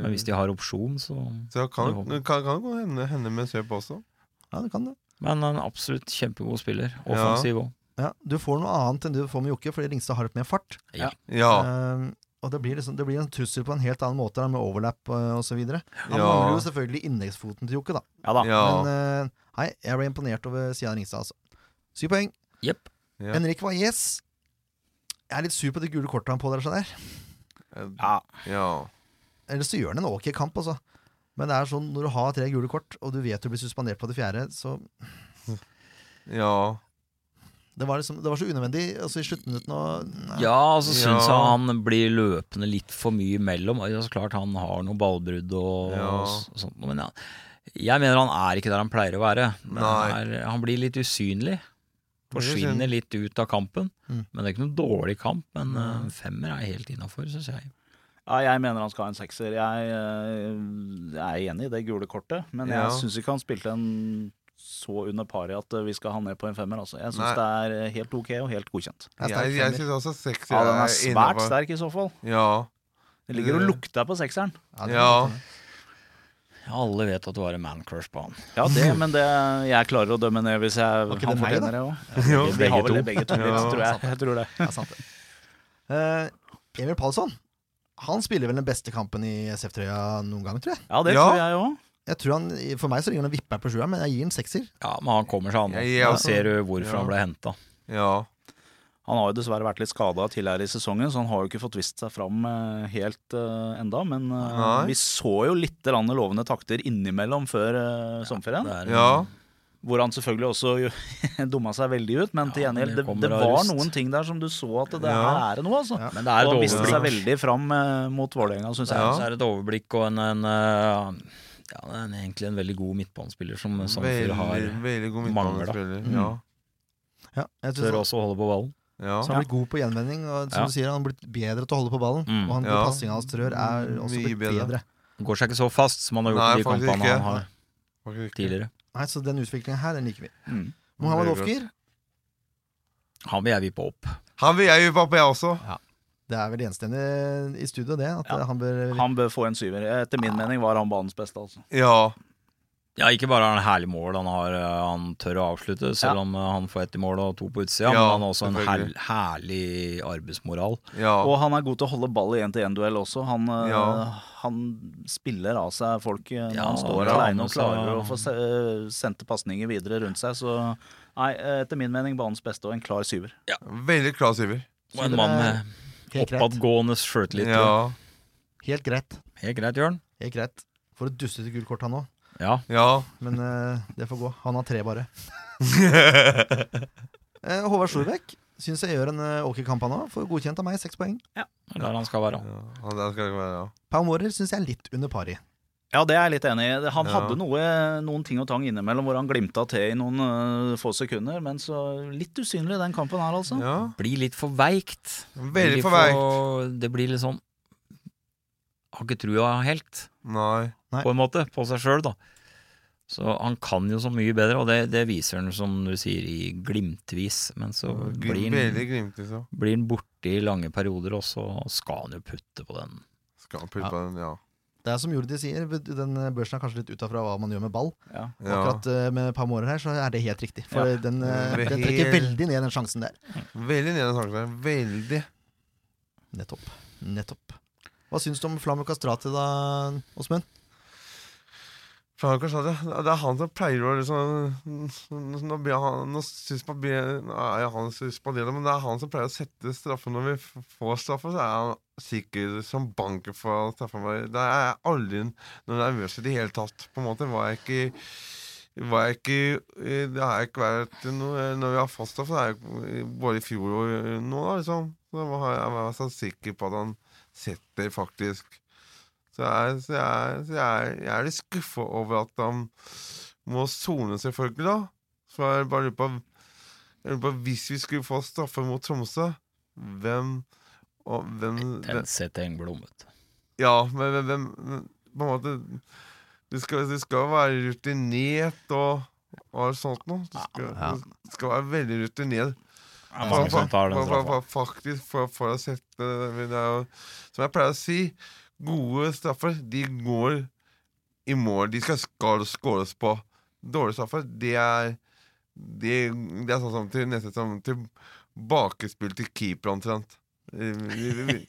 Speaker 6: Veldig
Speaker 5: hvis de har opsjon, så
Speaker 6: Så
Speaker 5: Det
Speaker 6: kan
Speaker 5: håper
Speaker 6: det kan, kan det hende, hende med kjøp også.
Speaker 3: Ja, du kan det.
Speaker 5: Men en absolutt kjempegod spiller. Offensiv òg.
Speaker 3: Ja, du får noe annet enn du får med Jokke, fordi Ringstad har litt mer fart.
Speaker 6: Ja.
Speaker 3: Eh, og det blir, liksom, det blir en trussel på en helt annen måte, da, med overlap eh, og så videre Han
Speaker 6: Ja.
Speaker 3: mangler jo selvfølgelig innleggsfoten til Jokke, da.
Speaker 7: Ja da.
Speaker 6: Ja.
Speaker 3: Men eh, nei, jeg ble imponert over Sian Ringstad, altså. Syv poeng.
Speaker 5: Jepp.
Speaker 6: Ja.
Speaker 3: Henrik Valles. Jeg er litt sur på det gule kortet han pådrar seg der.
Speaker 6: Ja. ja.
Speaker 3: Ellers så gjør han en ok kamp, altså. Men det er sånn, når du har tre gule kort, og du vet du blir suspendert på det fjerde, så
Speaker 6: Ja.
Speaker 3: Det var, liksom, det var så unødvendig altså, i sluttminuttene. og- Nei.
Speaker 5: Ja, og så syns jeg
Speaker 6: Ja.
Speaker 5: han blir løpende litt for mye imellom. Ja, så klart han har noen ballbrudd og,
Speaker 6: Ja.
Speaker 5: og s- sånt, men ja. jeg mener han er ikke der han pleier å være. Men
Speaker 6: Nei.
Speaker 5: han, er, han blir litt usynlig. Forsvinner litt ut av kampen.
Speaker 3: Mm.
Speaker 5: Men det er ikke noen dårlig kamp. Men eh, en femmer er helt innafor, syns jeg.
Speaker 7: Ja, jeg mener han skal ha en sekser. Jeg, eh, er enig i det gule kortet, men
Speaker 6: Ja.
Speaker 7: jeg syns ikke han spilte en så under pari at eh, vi skal ha ned på en femmer. Altså. Jeg
Speaker 6: Nei.
Speaker 7: syns det er eh, helt ok og helt godkjent.
Speaker 3: Det er sterk
Speaker 6: Jeg, jeg
Speaker 3: femmer.
Speaker 6: syns også sekser
Speaker 7: Ja, den er svært
Speaker 6: innenfor.
Speaker 7: sterk i så fall.
Speaker 6: Ja.
Speaker 7: Det ligger og
Speaker 6: Det-
Speaker 7: lukter på sekseren.
Speaker 3: Ja, det-
Speaker 6: Ja.
Speaker 5: Alle vet at det var en man-crush på han.
Speaker 7: Ja, det, men det, jeg klarer å dømme ned hvis jeg
Speaker 3: ikke
Speaker 7: han
Speaker 3: det meg,
Speaker 7: fortjener det òg.
Speaker 6: Ja.
Speaker 7: Vi har vel
Speaker 5: begge
Speaker 7: det begge to, litt,
Speaker 6: Ja.
Speaker 7: tror jeg. jeg tror det.
Speaker 3: Ja, sant det. Eh, Emil Palsson han spiller vel den beste kampen i SF-trøya noen gang, tror jeg.
Speaker 7: Ja, det
Speaker 6: Ja.
Speaker 7: tror jeg òg.
Speaker 3: jeg tror han, for meg så ringer han vipper på sjueren, men jeg gir han sekser.
Speaker 5: Ja, Men han kommer seg an.
Speaker 6: Jeg- jeg
Speaker 5: Da
Speaker 6: også-
Speaker 5: ser du hvorfor
Speaker 6: Ja.
Speaker 5: han ble henta.
Speaker 6: ja.
Speaker 7: Han har jo dessverre vært litt skada tidligere i sesongen, så han har jo ikke fått vist seg fram eh, helt eh, enda. Men eh,
Speaker 6: Nei.
Speaker 7: vi så jo litt grann lovende takter innimellom før eh, sommerferien.
Speaker 6: ja.
Speaker 7: Hvor han selvfølgelig også jo dumma seg veldig ut, men til
Speaker 5: Ja, men
Speaker 7: gjengjeld,
Speaker 5: det
Speaker 7: det,
Speaker 5: kommer
Speaker 7: det
Speaker 5: av
Speaker 7: var
Speaker 5: rust.
Speaker 7: noen ting der som du så at det
Speaker 6: Ja.
Speaker 7: her er det noe, altså.
Speaker 3: Ja.
Speaker 5: Men det
Speaker 7: Og
Speaker 5: er et
Speaker 7: han viste seg
Speaker 5: overblikk.
Speaker 7: veldig fram eh, mot Vålerenga, syns jeg.
Speaker 6: Ja.
Speaker 5: Så er det et overblikk og en, en eh, Ja, det er egentlig en veldig god midtbanespiller som Sandefjord har.
Speaker 6: Veldig, veldig god
Speaker 5: mangler, da.
Speaker 6: midtbanespiller.
Speaker 5: Mm.
Speaker 6: Ja.
Speaker 3: Ja, jeg synes
Speaker 5: Tør
Speaker 3: han,
Speaker 5: også å holde på ballen.
Speaker 6: Ja.
Speaker 3: så han har blitt god på gjenvending. Og som
Speaker 5: Ja.
Speaker 3: du sier, han har blitt bedre til å holde på ballen.
Speaker 5: Mm.
Speaker 3: Og han
Speaker 6: Ja.
Speaker 3: passinga hans trør er også
Speaker 6: Mye
Speaker 3: blitt
Speaker 6: bedre.
Speaker 3: bedre.
Speaker 5: Går seg ikke så fast som han har gjort
Speaker 6: Nei,
Speaker 5: i de
Speaker 6: faktisk
Speaker 5: kampene
Speaker 6: ikke.
Speaker 5: han har
Speaker 6: Faktisk ikke.
Speaker 5: tidligere.
Speaker 3: Nei, Så den utviklingen her, den liker vi.
Speaker 7: Mm.
Speaker 3: Mohammed
Speaker 6: Veldig godt.
Speaker 3: Ofker,
Speaker 5: Han vil jeg vippe opp.
Speaker 6: Han vil jeg jo pappa, jeg også.
Speaker 3: det er vel enstemmig i studio, det. At
Speaker 7: Ja.
Speaker 3: han bør
Speaker 7: Han bør få en syver. Etter min mening var han banens beste, altså.
Speaker 6: Ja.
Speaker 5: Ja, Ikke bare har han herlig mål, han, har, eh, han tør å avslutte, selv om eh, han får ett i mål og to på utsida. men
Speaker 6: Ja,
Speaker 5: han har også en her
Speaker 6: selvfølgelig.
Speaker 5: herlig arbeidsmoral.
Speaker 6: ja.
Speaker 7: Og han er god til å holde ball i én-til-én-duell også. Han, eh,
Speaker 6: Ja.
Speaker 7: han spiller av seg folk eh, når
Speaker 5: Ja,
Speaker 7: han
Speaker 5: han
Speaker 7: står
Speaker 5: klarer
Speaker 7: alene og
Speaker 5: seg.
Speaker 7: klarer å få se- eh, sendte pasninger videre rundt seg. Så nei, eh, etter min mening banens beste og en klar syver.
Speaker 6: Veldig klar syver.
Speaker 5: Og en
Speaker 3: det
Speaker 5: mann
Speaker 3: er
Speaker 5: med
Speaker 3: Helt greit.
Speaker 5: oppadgående sjøltillit.
Speaker 6: Ja.
Speaker 3: Helt greit.
Speaker 5: Helt greit, Jørn.
Speaker 3: Helt greit. For et dustete gult kort, han òg.
Speaker 5: Ja.
Speaker 6: ja.
Speaker 3: Men eh, det får gå. Han har tre, bare. Eh, Håvard Storbekk syns jeg gjør en eh, ok kamp, han òg. Får godkjent av meg, seks poeng.
Speaker 5: Der han skal være.
Speaker 6: ja. Han der skal det ikke være, ja.
Speaker 3: Pau Mårer syns jeg er litt under par i.
Speaker 7: Ja, det er jeg litt enig i. Han
Speaker 6: Ja.
Speaker 7: hadde noe, noen ting og tang innimellom hvor han glimta til i noen eh, få sekunder, men så litt usynlig i den kampen her, altså.
Speaker 6: ja.
Speaker 5: Blir litt for veikt.
Speaker 6: Veldig for vei.
Speaker 5: Det blir litt sånn Har ikke trua helt.
Speaker 6: Nei.
Speaker 3: Nei.
Speaker 5: på en måte, på seg sjøl, da. Så han kan jo så mye bedre, og det, det viser han, som du sier, i glimtvis. Men så blir
Speaker 6: Glim,
Speaker 5: han,
Speaker 6: veldig glimt, liksom.
Speaker 5: blir han borte i lange perioder, og så skal han jo putte på den.
Speaker 6: Skal han putte på den, ja.
Speaker 3: Det er som Jordi sier, den eh, børsen er kanskje litt ut afra hva man gjør med ball.
Speaker 7: Ja.
Speaker 3: Og
Speaker 6: ja.
Speaker 3: Akkurat eh, med Pau Mårer her, så er det helt riktig. For den, eh,
Speaker 6: Det er
Speaker 3: den trekker
Speaker 6: helt-
Speaker 3: veldig ned den sjansen der.
Speaker 6: Veldig nede i saken. Veldig.
Speaker 3: Nettopp. Nettopp. Hva syns du om Flammo Kastrati da, Åsmund?
Speaker 6: Frank og Shadi, det er han som pleier å liksom Nå, blir han, nå syns man blir, nå er jo han suspenderer, men det er han som pleier å sette straffe. Når vi f- får straffe, så er han sikker som banker for straffa. Da er jeg aldri noe nervøs i det hele tatt. På en måte var jeg ikke var jeg ikke, eh, det har jeg ikke vært noe, Når vi har fått straff, det er jo både i fjor og nå, da, liksom. Så har jeg vært så sikker på at han setter faktisk så jeg, så jeg, så jeg, jeg er litt skuffa over at han må sone, selvfølgelig, da. For jeg bare lurer på, jeg lurer på Hvis vi skulle få straffe mot Tromsø, hvem og hvem, hvem
Speaker 5: Tensete Engblom, vet du.
Speaker 6: Ja, men hvem, hvem På en måte Du skal, du skal være rutinert og, og sånt noe. Du skal, du skal være veldig rutinert.
Speaker 5: Det er mange som tar den
Speaker 6: Fa- fa-
Speaker 5: straffa.
Speaker 6: fa- Faktisk, for, for å sette det er jo, Som jeg pleier å si, gode straffer, de går i mål. De skal, skal skåres på. Dårlige straffer, det er Det, det er sånn som til, nesten som tilbakespill til keeper, omtrent. Eh, vi- vi- vi-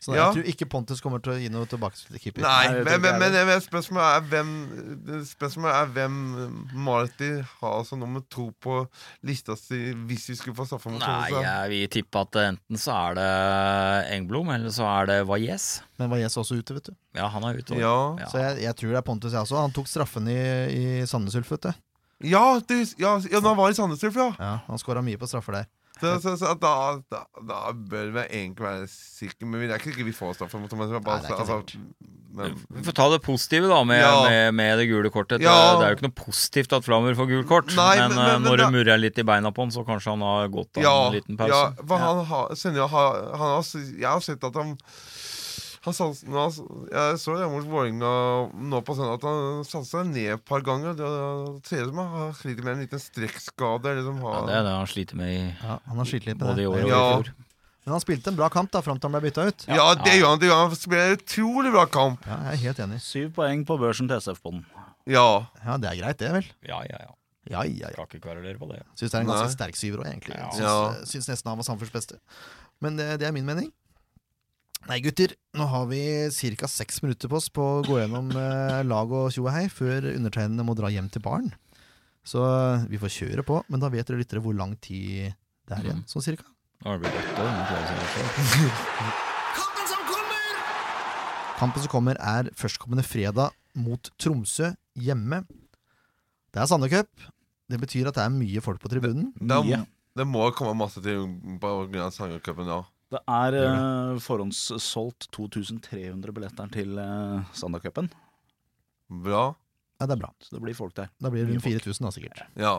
Speaker 3: Så
Speaker 6: Ja.
Speaker 3: Jeg tror ikke Pontus kommer til å gi noe tilbakespill til keeper.
Speaker 6: Nei,
Speaker 7: jeg vet
Speaker 6: men,
Speaker 7: ikke,
Speaker 6: men, men,
Speaker 7: jeg
Speaker 6: men spørsmålet er hvem Spørsmålet er hvem Marty har som nummer to på lista si hvis vi skulle få straffa mot
Speaker 5: Nei,
Speaker 6: Tromsø.
Speaker 5: jeg vil tippe at enten så er det Engblom, eller så er det Valles.
Speaker 3: Men Valles er også ute, vet du.
Speaker 5: Ja, han er ute.
Speaker 6: Ja.
Speaker 5: Ja.
Speaker 3: Så jeg, jeg tror det er Pontus, jeg også. Han tok straffen i, i Sandnes Ulf, vet du.
Speaker 6: Ja, det, ja, ja, da var det Sandnes Ulf, ja.
Speaker 3: Ja, han skåra mye på straffer der.
Speaker 6: Så, så, så da, da, da bør vi egentlig være sikre Men det er ikke sikkert vi får straffa mot Tromsø. Altså,
Speaker 3: Nei, det er ikke
Speaker 6: men,
Speaker 5: Vi får ta det positive, da, med,
Speaker 6: Ja.
Speaker 5: med, med det gule kortet.
Speaker 6: Ja.
Speaker 5: Det er jo ikke noe positivt at Flammer får gult kort,
Speaker 6: Nei,
Speaker 5: men,
Speaker 6: men-
Speaker 5: eh,
Speaker 6: men- men
Speaker 5: når
Speaker 6: da-
Speaker 5: det murrer litt i beina på han, så kanskje han har gått av
Speaker 6: ja,
Speaker 5: en liten pause.
Speaker 6: ja, for han har, Senja har, han har Jeg har sett at han han sats, nå, jeg så det mot Vålerenga nå på søndag at han satsa ned et par ganger. Det det ser ut som han sliter med en liten strekkskade. Eller som
Speaker 5: Ja,
Speaker 6: har,
Speaker 5: det er det han sliter med i
Speaker 3: Ja, han har slitt litt med
Speaker 5: både i år og
Speaker 3: det.
Speaker 6: Ja.
Speaker 5: i fjor.
Speaker 3: Men han spilte en bra kamp da, fram til han ble bytta ut.
Speaker 6: ja, det gjør han. Det gjør han. Han Spiller en utrolig bra kamp.
Speaker 3: Ja, jeg er helt enig.
Speaker 7: Syv poeng på børsen til SF-bånden.
Speaker 6: Ja.
Speaker 3: Ja, Det er greit, det, vel.
Speaker 5: Ja, ja, ja.
Speaker 3: Ja, ja, ja.
Speaker 5: Skal ikke kverulere på det.
Speaker 3: Syns det er en ganske
Speaker 6: Nei.
Speaker 3: sterk syver òg, egentlig.
Speaker 5: Ja.
Speaker 3: Syns,
Speaker 6: Ja.
Speaker 3: eh, syns nesten han var Samfunns beste. Men det, det er min mening. Nei, gutter, nå har vi ca. seks minutter på oss på å gå gjennom eh, lag og tjo og hei før undertegnede må dra hjem til baren. Så eh, vi får kjøre på, men da vet dere lyttere hvor lang tid det er
Speaker 5: Mm.
Speaker 3: igjen, sånn cirka.
Speaker 5: Nå har det blitt åtte. nå klarer jeg å si det.
Speaker 3: Kampen som kommer er førstkommende fredag mot Tromsø hjemme. Det er Sande Cup. Det betyr at det er mye folk på tribunen.
Speaker 6: Det, er-
Speaker 7: Mye.
Speaker 6: det må komme masse til på grunn av Sangercupen, ja.
Speaker 7: Det er eh, forhåndssolgt 2300 billetter til uh, Sandacupen.
Speaker 6: Bra.
Speaker 3: Ja, det er bra.
Speaker 7: Så det blir folk der.
Speaker 3: Da blir det rundt 4000, da, sikkert.
Speaker 6: Ja.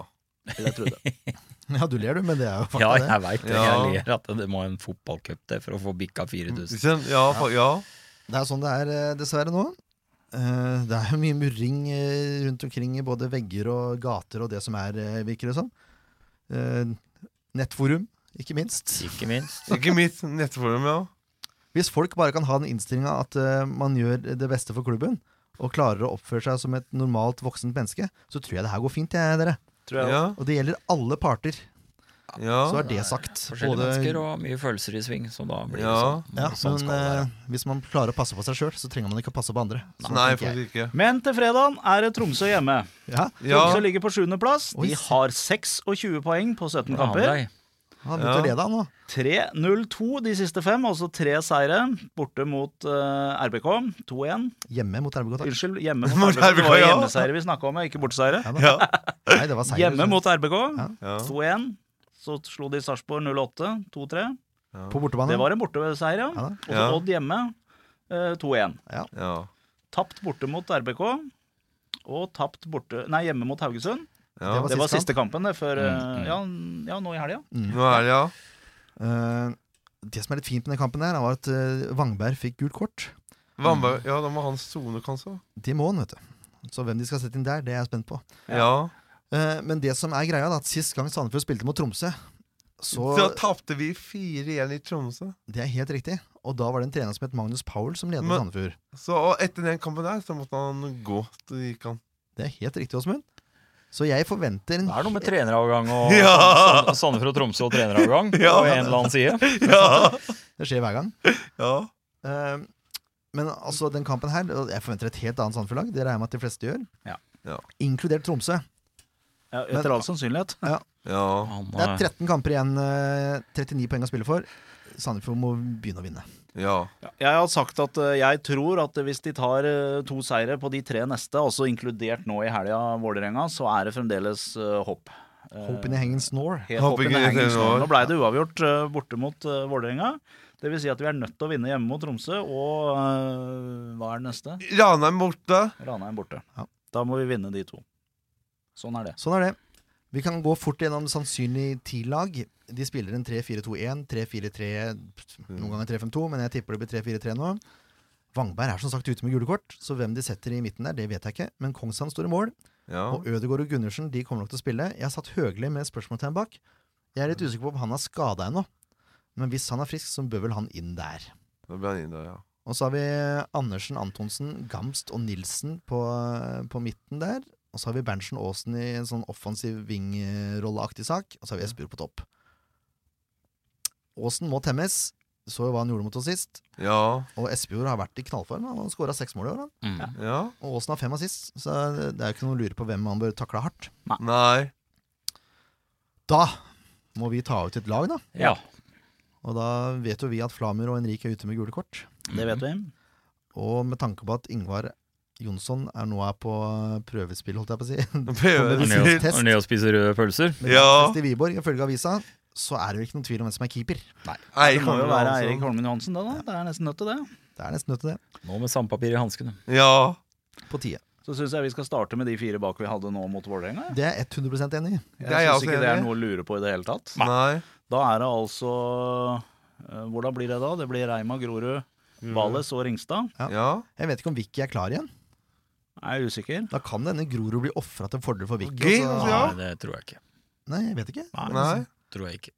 Speaker 7: Vil jeg tro det.
Speaker 3: Ja, du ler, du, men det er jo fakta,
Speaker 5: Ja,
Speaker 3: det.
Speaker 5: jeg veit det.
Speaker 6: Ja.
Speaker 5: Jeg ler at det må en fotballcup til for å få bikka 4000.
Speaker 6: Kjenn, ja, fa- ja.
Speaker 3: Det er sånn det er, eh, dessverre, nå. Eh, Det er jo mye murring eh, rundt omkring i både vegger og gater og det som er, eh, virker det som. Eh, Nettforum, ikke minst.
Speaker 5: Ikke minst.
Speaker 6: Ikke mitt nettforum, ja.
Speaker 3: Hvis folk bare kan ha den innstillinga at eh, man gjør det beste for klubben, og klarer å oppføre seg som et normalt voksent menneske, så tror jeg det her går fint, jeg, dere.
Speaker 6: Ja,
Speaker 3: Og det gjelder alle parter.
Speaker 6: ja.
Speaker 3: Så er det sagt.
Speaker 5: Forskjellige mennesker og mye følelser i sving, så da blir det
Speaker 6: Ja.
Speaker 5: sånn.
Speaker 3: ja,
Speaker 5: sånn
Speaker 3: men
Speaker 5: skal det være.
Speaker 3: eh, hvis man klarer å passe på seg sjøl, så trenger man ikke å passe på andre. Så
Speaker 6: Nei,
Speaker 3: tenker jeg.
Speaker 6: faktisk ikke.
Speaker 7: Men til fredagen er det Tromsø hjemme.
Speaker 3: Ja,
Speaker 6: Ja,
Speaker 7: Tromsø ligger på sjuendeplass.
Speaker 3: Oi,
Speaker 7: De
Speaker 3: se-
Speaker 7: har 26 poeng på 17
Speaker 5: Bra,
Speaker 7: kamper.
Speaker 5: Andrej.
Speaker 3: han begynte å
Speaker 6: Ja.
Speaker 3: lede, han nå.
Speaker 7: 3-0-2 de siste fem, altså tre seire. Borte mot eh, RBK 2-1.
Speaker 3: Hjemme mot RBK. takk.
Speaker 7: Unnskyld, hjemme
Speaker 6: Mot
Speaker 7: mot RBK. Det var
Speaker 6: RBK, ja.
Speaker 7: hjemmeseiere vi snakka om, ja, ikke borteseiere.
Speaker 3: Ja, da.
Speaker 6: Ja.
Speaker 3: Nei, det var seier. liksom.
Speaker 7: Hjemme mot RBK
Speaker 3: Ja.
Speaker 6: ja.
Speaker 7: 2-1. Så slo de Sarpsborg 08 2-3.
Speaker 3: På bortebane.
Speaker 7: Det var en borteseier, ja.
Speaker 3: Ja da.
Speaker 7: Og så
Speaker 6: Ja.
Speaker 7: Odd hjemme eh, 2-1.
Speaker 6: ja.
Speaker 7: Tapt borte mot RBK. Og tapt borte Nei, hjemme mot Haugesund.
Speaker 6: ja.
Speaker 3: Det var
Speaker 7: Det var
Speaker 3: siste
Speaker 7: siste kampen, det, før
Speaker 5: Mm,
Speaker 7: eh, ja, ja, nå i helga.
Speaker 6: Nå er det, ja.
Speaker 3: Mm. Eh, det som er litt fint med den kampen, her, var at eh, Vangberg fikk gult kort.
Speaker 7: Mm.
Speaker 6: Vannberg, ja, da må han sone, kanskje.
Speaker 3: Det må han, vet du. Så hvem de skal sette inn der, det er jeg spent på.
Speaker 6: Ja.
Speaker 3: Eh, men det som er greia, da, at sist gang Sandefjord spilte mot Tromsø, så
Speaker 6: Så tapte vi 4-1 i Tromsø.
Speaker 3: Det er helt riktig. Og da var det en trener som het Magnus Powell som ledet
Speaker 6: Men-
Speaker 3: Sandefjord.
Speaker 6: Så og etter den kampen der, så måtte han gå. Så gikk han.
Speaker 3: Det er helt riktig, Åsmund. Så jeg forventer en
Speaker 5: Det er noe med treneravgang og
Speaker 6: Ja.
Speaker 5: Sand- Sandefjord og Tromsø og treneravgang
Speaker 6: Ja.
Speaker 5: på en eller annen side.
Speaker 6: Ja!
Speaker 3: Det skjer hver gang.
Speaker 6: ja.
Speaker 3: Eh, men altså, den kampen her og Jeg forventer et helt annet Sandefjord-lag. Det regner jeg med at de fleste gjør.
Speaker 7: Ja.
Speaker 6: Ja.
Speaker 3: Inkludert Tromsø.
Speaker 7: Ja,
Speaker 3: Men-
Speaker 7: etter all sannsynlighet.
Speaker 6: ja.
Speaker 5: Han,
Speaker 3: Det er
Speaker 5: eh,
Speaker 3: 13 kamper igjen. eh, 39 poeng å spille for. Sandefjord må begynne å vinne.
Speaker 6: ja.
Speaker 7: Jeg har sagt at eh, jeg tror at hvis de tar eh, to seire på de tre neste, altså inkludert nå i helga Vålerenga, så er det fremdeles eh, håp. Eh,
Speaker 3: Hope in the hanging snore.
Speaker 7: helt håp
Speaker 6: Håper
Speaker 7: in
Speaker 6: ikke
Speaker 7: the
Speaker 6: det
Speaker 7: hanging
Speaker 6: skjer
Speaker 7: snore.
Speaker 6: nå.
Speaker 7: Nå ble det uavgjort eh, borte mot eh, Vålerenga. Det vil si at vi er nødt til å vinne hjemme mot Tromsø, og eh, hva er det neste?
Speaker 6: Ranheim borte.
Speaker 7: Ranheim borte.
Speaker 3: Ja.
Speaker 7: Da må vi vinne de to. Sånn er det.
Speaker 3: Sånn er det. Vi kan gå fort gjennom sannsynlig ti-lag. De spiller en 3-4-2-1, 3-4-3, noen ganger 3-5-2, men jeg tipper det blir 3-4-3 nå. Vangberg er som sagt ute med gule kort, så hvem de setter i midten der, det vet jeg ikke. Men Kongshamn står i mål,
Speaker 6: Ja.
Speaker 3: og Ødegaard og Gundersen de kommer nok til å spille. Jeg har satt Høgli med spørsmålstegn bak. Jeg er litt usikker på om han har skada ennå, men hvis han er frisk, så bør vel han inn der.
Speaker 6: Da ble han inn der, ja.
Speaker 3: Og så har vi Andersen, Antonsen, Gamst og Nilsen på, på midten der. Og så har vi Berntsen Aasen i en sånn offensiv vingrolleaktig sak. Og så har vi Espejord på topp. Aasen må temmes. Så jo hva han gjorde mot oss sist.
Speaker 6: Ja.
Speaker 3: Og Espejord har vært i knallform. Han har skåra seks mål i år. Han.
Speaker 5: mm.
Speaker 6: ja.
Speaker 3: Og Aasen har fem assist, så det er jo ikke noe å lure på hvem han bør takle hardt.
Speaker 6: Nei.
Speaker 3: Da må vi ta ut et lag, da.
Speaker 5: Ja.
Speaker 3: Og da vet jo vi at Flamer og Henrik er ute med gule kort.
Speaker 5: Mm.
Speaker 7: Det vet vi.
Speaker 3: Og med tanke på at Ingvar Jonsson er nå er på prøvespill, holdt jeg på å si,
Speaker 5: Og
Speaker 6: Prøver
Speaker 5: ned og-
Speaker 3: Test.
Speaker 5: og ned og spiser røde pølser.
Speaker 6: Ja.
Speaker 3: Mens i Wiborg, ifølge avisa, så er det jo ikke noen tvil om hvem som er keeper.
Speaker 7: Det
Speaker 6: Eirik
Speaker 7: må jo
Speaker 6: Holmen
Speaker 7: være
Speaker 6: Hansen.
Speaker 7: Eirik Holmen Johansen, det da. Det er nesten nødt til det.
Speaker 3: Det er nesten nødt til det.
Speaker 5: Nå med sandpapir i hanskene.
Speaker 6: Ja.
Speaker 3: På tide.
Speaker 7: Så syns jeg vi skal starte med de fire bak vi hadde nå mot Vålerenga. jeg.
Speaker 3: Det er jeg 100 enig i.
Speaker 6: Det er
Speaker 7: Jeg
Speaker 6: jeg
Speaker 7: syns
Speaker 6: også
Speaker 7: ikke det er
Speaker 6: enig i.
Speaker 7: noe å lure på i det hele tatt.
Speaker 6: Nei.
Speaker 7: Da er det altså eh, Hvordan blir det da? Det blir Reima, Grorud, Vales og Ringstad.
Speaker 6: Ja.
Speaker 3: Jeg vet ikke om Vicky er klar igjen.
Speaker 7: Jeg er usikker.
Speaker 3: Da kan denne Grorud bli ofra til fordel for Vicky.
Speaker 6: Gøy,
Speaker 3: og så-
Speaker 6: Ja.
Speaker 5: Nei, det tror jeg ikke.
Speaker 3: Nei, jeg vet ikke.
Speaker 6: Nei.
Speaker 5: Tror jeg ikke.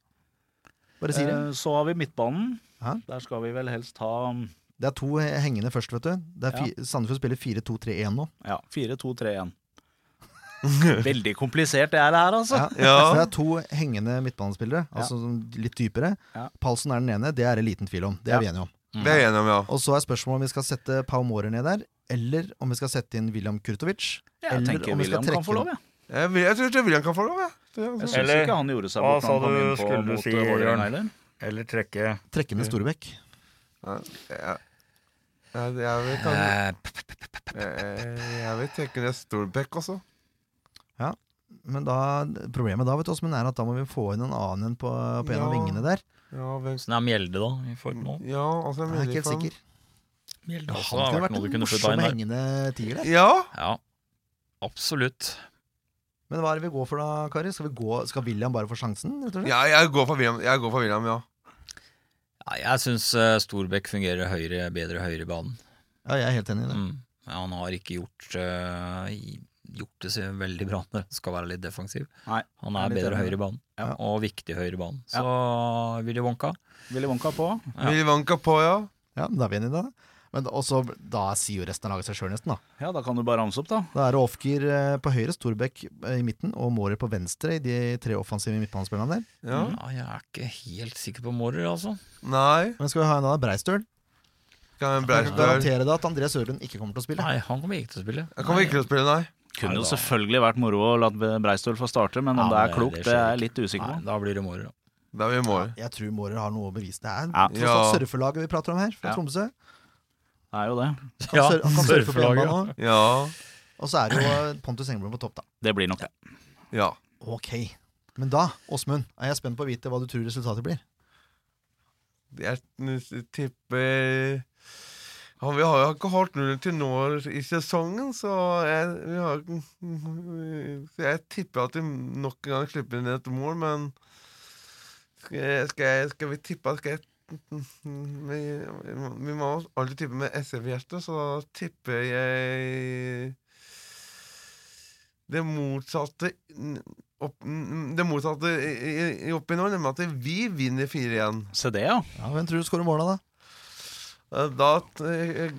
Speaker 3: Bare sier det.
Speaker 7: Eh, Så har vi midtbanen.
Speaker 3: Ja.
Speaker 7: Der skal vi vel helst ha
Speaker 3: Det er to eh, hengende først, vet du. Det er fi Sandefjord spiller 4-2-3-1 nå.
Speaker 7: ja, 4-2-3-1. Veldig komplisert det er det her, altså.
Speaker 3: Ja. Så det
Speaker 6: Ja.
Speaker 3: er to hengende midtbanespillere, altså sånn litt dypere.
Speaker 7: Ja.
Speaker 3: Palsen er den ene, det er det liten tvil om. Det er vi enige om.
Speaker 6: Det er jeg enig om, ja.
Speaker 3: Og så er spørsmålet om vi skal sette Pau Mårer ned der, eller om vi skal sette inn William Kurtovic.
Speaker 7: Jeg
Speaker 3: Eller
Speaker 7: tenker
Speaker 3: om vi skal
Speaker 7: William kan
Speaker 3: trekke
Speaker 7: få lov, jeg.
Speaker 6: Jeg, vil, jeg tror ikke William kan få lov, jeg. Det er
Speaker 7: Jeg
Speaker 6: altså-
Speaker 7: syns
Speaker 5: Eller-
Speaker 7: ikke han gjorde seg
Speaker 5: Hva
Speaker 7: bort når han
Speaker 5: sa
Speaker 7: kom
Speaker 5: du
Speaker 7: inn på
Speaker 5: skulle
Speaker 7: mot
Speaker 5: si,
Speaker 7: eh,
Speaker 5: Jørn?
Speaker 7: Vålerenga heller.
Speaker 5: Eller trekke
Speaker 3: Trekke
Speaker 7: Mm.
Speaker 3: med Storebekk.
Speaker 6: Jeg, jeg, jeg vet
Speaker 5: Eh,
Speaker 6: han Jeg, jeg vet ikke det er Storbekk også.
Speaker 3: Men da, problemet da vet du, Åsmund, er at da må vi få inn en annen enn på, på en av
Speaker 6: Ja.
Speaker 3: vingene der.
Speaker 6: Ja, hvem
Speaker 5: Åssen er Mjelde, da? i forhold til nå?
Speaker 6: Ja, altså
Speaker 3: Jeg er ikke helt sikker.
Speaker 5: Mjelde
Speaker 3: Han
Speaker 5: også har
Speaker 3: kunne
Speaker 5: vært
Speaker 3: vært
Speaker 5: noe du
Speaker 3: en
Speaker 5: kunne putta
Speaker 3: morsom
Speaker 5: inn der.
Speaker 3: hengende tiger der.
Speaker 6: Ja!
Speaker 5: Ja, absolutt.
Speaker 3: Men hva er det vi går for da, Kari? Skal, vi gå, skal William bare få sjansen? rett og slett?
Speaker 6: ja jeg, går for William, jeg går for William, ja.
Speaker 5: Ja, jeg syns eh, Storbekk fungerer høyre, bedre høyre i banen.
Speaker 3: ja, jeg er helt enig i det.
Speaker 5: Mm. Ja, Han har ikke gjort, eh, i- gjort det så veldig bra når han skal være litt defensiv.
Speaker 7: Nei,
Speaker 5: han
Speaker 7: jeg
Speaker 5: er
Speaker 7: er litt
Speaker 5: bedre
Speaker 7: enig i
Speaker 5: høyre i banen,
Speaker 7: Ja.
Speaker 5: og viktig høyre i banen. Så Willy Wonka
Speaker 7: Willy Wonka på.
Speaker 5: Ja.
Speaker 6: Willy Wonka på, ja.
Speaker 3: Ja, da er vi enige i det. Men også, da sier jo resten av laget seg sjøl, nesten. Da
Speaker 7: Ja, da kan du bare ramse opp, da.
Speaker 3: Da er det Ofker eh, på høyre, Storbekk eh, i midten og Mårer på venstre i de tre offensive midtbanespillerne der.
Speaker 6: ja.
Speaker 5: ja, Jeg er ikke helt sikker på Mårer, altså.
Speaker 6: Nei.
Speaker 3: Men skal vi ha en av Breistøl? Jeg
Speaker 6: Kan jeg
Speaker 3: kan
Speaker 6: Breistøl
Speaker 3: garantere deg at André Sørlund ikke kommer til å spille.
Speaker 5: Nei, han kommer ikke til å spille.
Speaker 6: Jeg kommer ikke til å spille, nei.
Speaker 7: Kunne
Speaker 5: Nei,
Speaker 7: jo
Speaker 5: da-
Speaker 7: selvfølgelig vært moro å la Breistøl få starte, men om
Speaker 5: Ja,
Speaker 7: det
Speaker 5: det-
Speaker 7: er klokt,
Speaker 5: det
Speaker 7: det er
Speaker 5: skjer
Speaker 7: jeg litt usikker
Speaker 5: Nei,
Speaker 7: på.
Speaker 5: da blir det Mårer. da.
Speaker 6: Da er vi i mål.
Speaker 3: Jeg tror Mårer har noe å bevise. Det er
Speaker 7: Ja.
Speaker 3: tross alt surfelaget vi prater om her, fra
Speaker 7: Ja.
Speaker 3: Tromsø.
Speaker 7: Det er jo det.
Speaker 3: Kan
Speaker 5: Ja,
Speaker 3: sur- Altså, han kan surfe på
Speaker 5: surfelaget.
Speaker 3: hjemmebane også.
Speaker 6: Ja.
Speaker 3: Og så er det jo eh, Pontus Engblom på topp, da.
Speaker 7: Det blir nok det.
Speaker 6: Ja.
Speaker 3: Ok. Men da, Åsmund, er jeg spent på å vite hva du tror resultatet blir.
Speaker 6: Jeg tipper han, Vi har jo ikke holdt nuller til nå i sesongen, så jeg, vi har, så jeg tipper at vi nok en gang slipper inn et mål, men skal, jeg, skal, jeg, skal vi tippe skal jeg, vi, vi må alltid tippe med SF-hjerte, så da tipper jeg det motsatte opp, Det motsatte i- i- i oppi nå, nemlig at vi vinner 4-1.
Speaker 7: Se det, ja.
Speaker 3: Ja, Hvem tror du skårer måla, da?
Speaker 6: Eh, Da eh,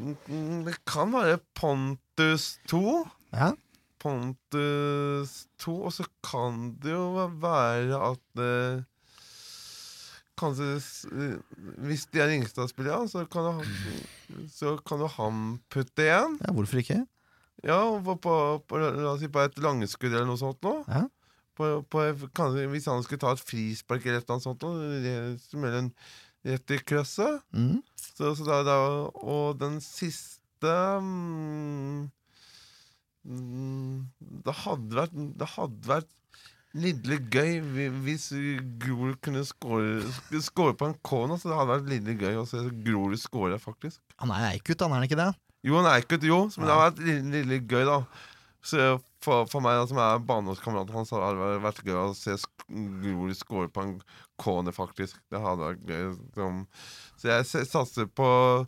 Speaker 6: Det kan være Pontus 2.
Speaker 3: Ja.
Speaker 6: Pontus 2, og så kan det jo være at eh, Kanskje s- eh, Hvis de er Ringstad-spillere, ja, så kan jo han- så kan jo han putte igjen.
Speaker 3: ja, hvorfor ikke?
Speaker 6: Ja, på, på, på, la oss si på et langskudd eller noe sånt nå.
Speaker 3: Ja.
Speaker 6: På, på, kanskje, hvis han skulle ta et frispark eller et eller annet sånt, nå, smelle en rett i krøsset
Speaker 3: Mm.
Speaker 6: så, så da, da, og den siste mm, mm, Det hadde vært, det hadde vært lidderlig gøy hvi- hvis Grorud kunne score, sk- score på en Kona. Så det hadde vært lidderlig gøy å se Grorud score, faktisk.
Speaker 3: Han er eikut, han er han ikke det?
Speaker 6: Jo, han er ikke et jo, men det hadde vært lidd- lidderlig gøy, da. Så for, for meg da, som er barndomskameraten hans, så hadde det vært gøy å se sk- Grorud score på en Kone, faktisk. Det hadde vært gøy. Som, så jeg se- satser på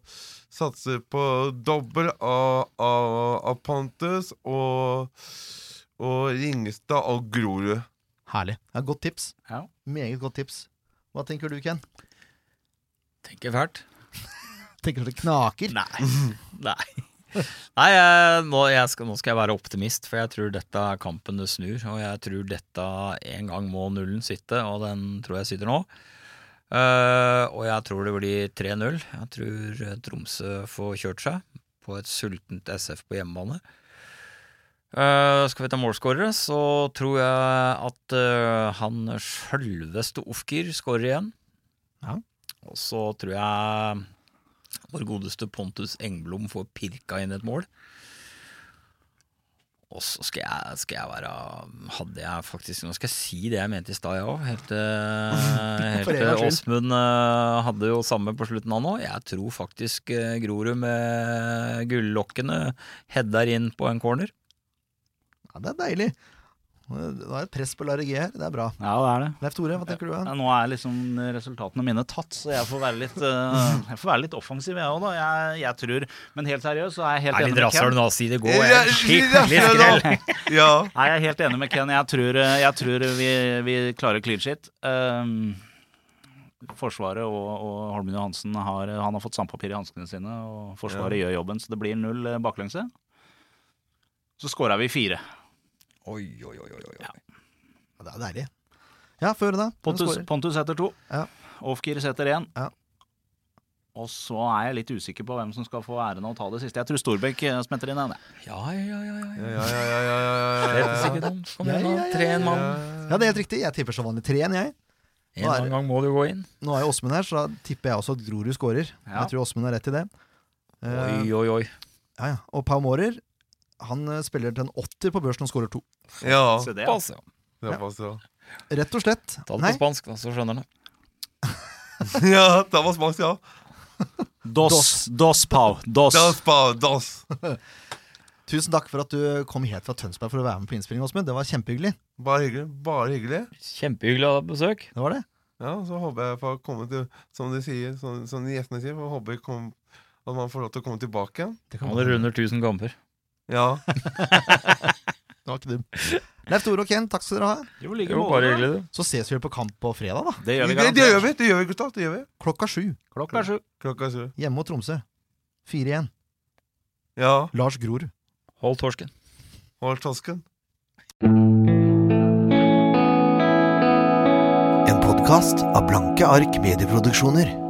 Speaker 6: Satser på dobbel av, av, av Pontus og, og Ringstad og Grorud.
Speaker 3: Herlig. Ja, godt tips.
Speaker 7: Ja.
Speaker 3: Meget godt tips. Hva tenker du, Ken?
Speaker 5: Tenker fælt.
Speaker 3: Tenker du at det knaker?
Speaker 5: Nei. Nei. Nei, jeg, nå, jeg skal, nå skal jeg være optimist, for jeg tror dette er kampen det snur. Og jeg tror dette en gang må nullen sitte, og den tror jeg sitter nå. Eh, og jeg tror det blir 3-0. Jeg tror eh, Tromsø får kjørt seg på et sultent SF på hjemmebane. Eh, skal vi ta målskårere, så tror jeg at eh, han sjølveste Ofker skårer igjen.
Speaker 3: Ja.
Speaker 5: Og så tror jeg vår godeste Pontus Engblom får pirka inn et mål. Og så skal jeg, skal jeg være Hadde jeg faktisk Nå skal jeg si det jeg mente i stad, jeg òg. Helt til- helt
Speaker 3: For en
Speaker 5: til
Speaker 3: gangs
Speaker 5: Åsmund eh, hadde jo samme på slutten, han òg. Jeg tror faktisk eh, Grorud med gullokkene header inn på en corner.
Speaker 3: Ja, det er deilig. Det er et press på Larry G her. Det er bra.
Speaker 7: Ja, det er det.
Speaker 3: Leif Tore, hva tenker du?
Speaker 7: Ja, nå er liksom resultatene mine tatt, så jeg får være litt, eh, jeg får være litt offensiv, jeg òg, da. Jeg, jeg tror Men helt seriøst, så er jeg helt
Speaker 5: Er
Speaker 7: enig
Speaker 5: litt
Speaker 7: med Ken.
Speaker 5: rasshøl nå, si det går.
Speaker 6: Ja,
Speaker 5: Jeg er skikkelig skrell.
Speaker 6: Ja.
Speaker 7: Nei, jeg er helt enig med Ken. Jeg tror, eh, jeg tror vi, vi klarer clean shit. Um, Forsvaret og, og Holmen Johansen har, han har fått sandpapir i hanskene sine. Og Forsvaret gjør jobben, så det blir null eh, baklengse. Så scora vi fire.
Speaker 5: Oi, oi, oi, oi, oi.
Speaker 3: Ja, det er deilig. Ja, få høre, da. Hvem
Speaker 7: Pontus,
Speaker 3: scorer?
Speaker 7: Pontus setter to.
Speaker 3: Ja.
Speaker 7: Ofkir setter én.
Speaker 3: Ja.
Speaker 7: Og så er jeg litt usikker på hvem som skal få æren av å ta det siste. Jeg tror Storbekk eh, smetter inn en. jeg.
Speaker 5: Ja, ja, ja. ja, ja.
Speaker 6: Ja, ja, ja, ja, ja, ja,
Speaker 5: Helt
Speaker 6: ja.
Speaker 5: sikkert han. Kom igjen,
Speaker 3: Ja, ja,
Speaker 5: da.
Speaker 3: ja,
Speaker 5: Tre en mann.
Speaker 3: Ja, det er helt riktig. Jeg tipper som vanlig 3-1, jeg.
Speaker 5: En eller annen gang må du gå inn.
Speaker 3: Nå er jo Åsmund her, så da tipper jeg også at Grorud scorer.
Speaker 7: Ja.
Speaker 3: Jeg tror Åsmund har rett i det. Eh,
Speaker 5: Oi, oi, oi.
Speaker 3: ja, ja. Og Pau Mårer, han eh, spiller til en åtter på børsen og scorer to.
Speaker 6: Ja,
Speaker 7: Se det, altså- ja.
Speaker 5: Pass, ja.
Speaker 6: det er fast, ja.
Speaker 3: Rett og slett.
Speaker 5: Ta det
Speaker 3: Nei,
Speaker 5: på spansk, da, så skjønner han det.
Speaker 6: Ja, det var smart, ja.
Speaker 7: Dos, dos Pau. Dos.
Speaker 6: Das, ba, das.
Speaker 3: Tusen takk for at du kom helt fra Tønsberg for å være med på innspillingen, Åsmund. Det var kjempehyggelig.
Speaker 6: Bare hyggelig. Bare hyggelig.
Speaker 5: Kjempehyggelig å ha deg på besøk.
Speaker 3: Det var det.
Speaker 6: Ja, så håper jeg får komme til Som de sier, som, som de gjestene sier, får håper jeg kom, at man får lov til å komme tilbake igjen.
Speaker 3: Det, kan
Speaker 5: Han
Speaker 3: være.
Speaker 5: runder 1000 kamper.
Speaker 6: Ja.
Speaker 3: det var ikke dumt. Leif Tore og Ken, takk skal dere ha.
Speaker 7: Jo, like
Speaker 5: Jo, bare hyggelig, du.
Speaker 3: Så ses vi på kamp på fredag, da.
Speaker 7: Det
Speaker 6: Det,
Speaker 7: gjør vi
Speaker 6: det, gjør
Speaker 7: garantert.
Speaker 6: vi, det gjør vi, gutta. Det gjør vi.
Speaker 3: Klokka sju.
Speaker 7: Klokka er sju.
Speaker 6: Klokka sju.
Speaker 3: Hjemme mot Tromsø. Fire igjen.
Speaker 6: Ja.
Speaker 3: Lars Grorud.
Speaker 5: Hold torsken.
Speaker 6: Hold tosken.
Speaker 1: En podkast av Blanke ark medieproduksjoner.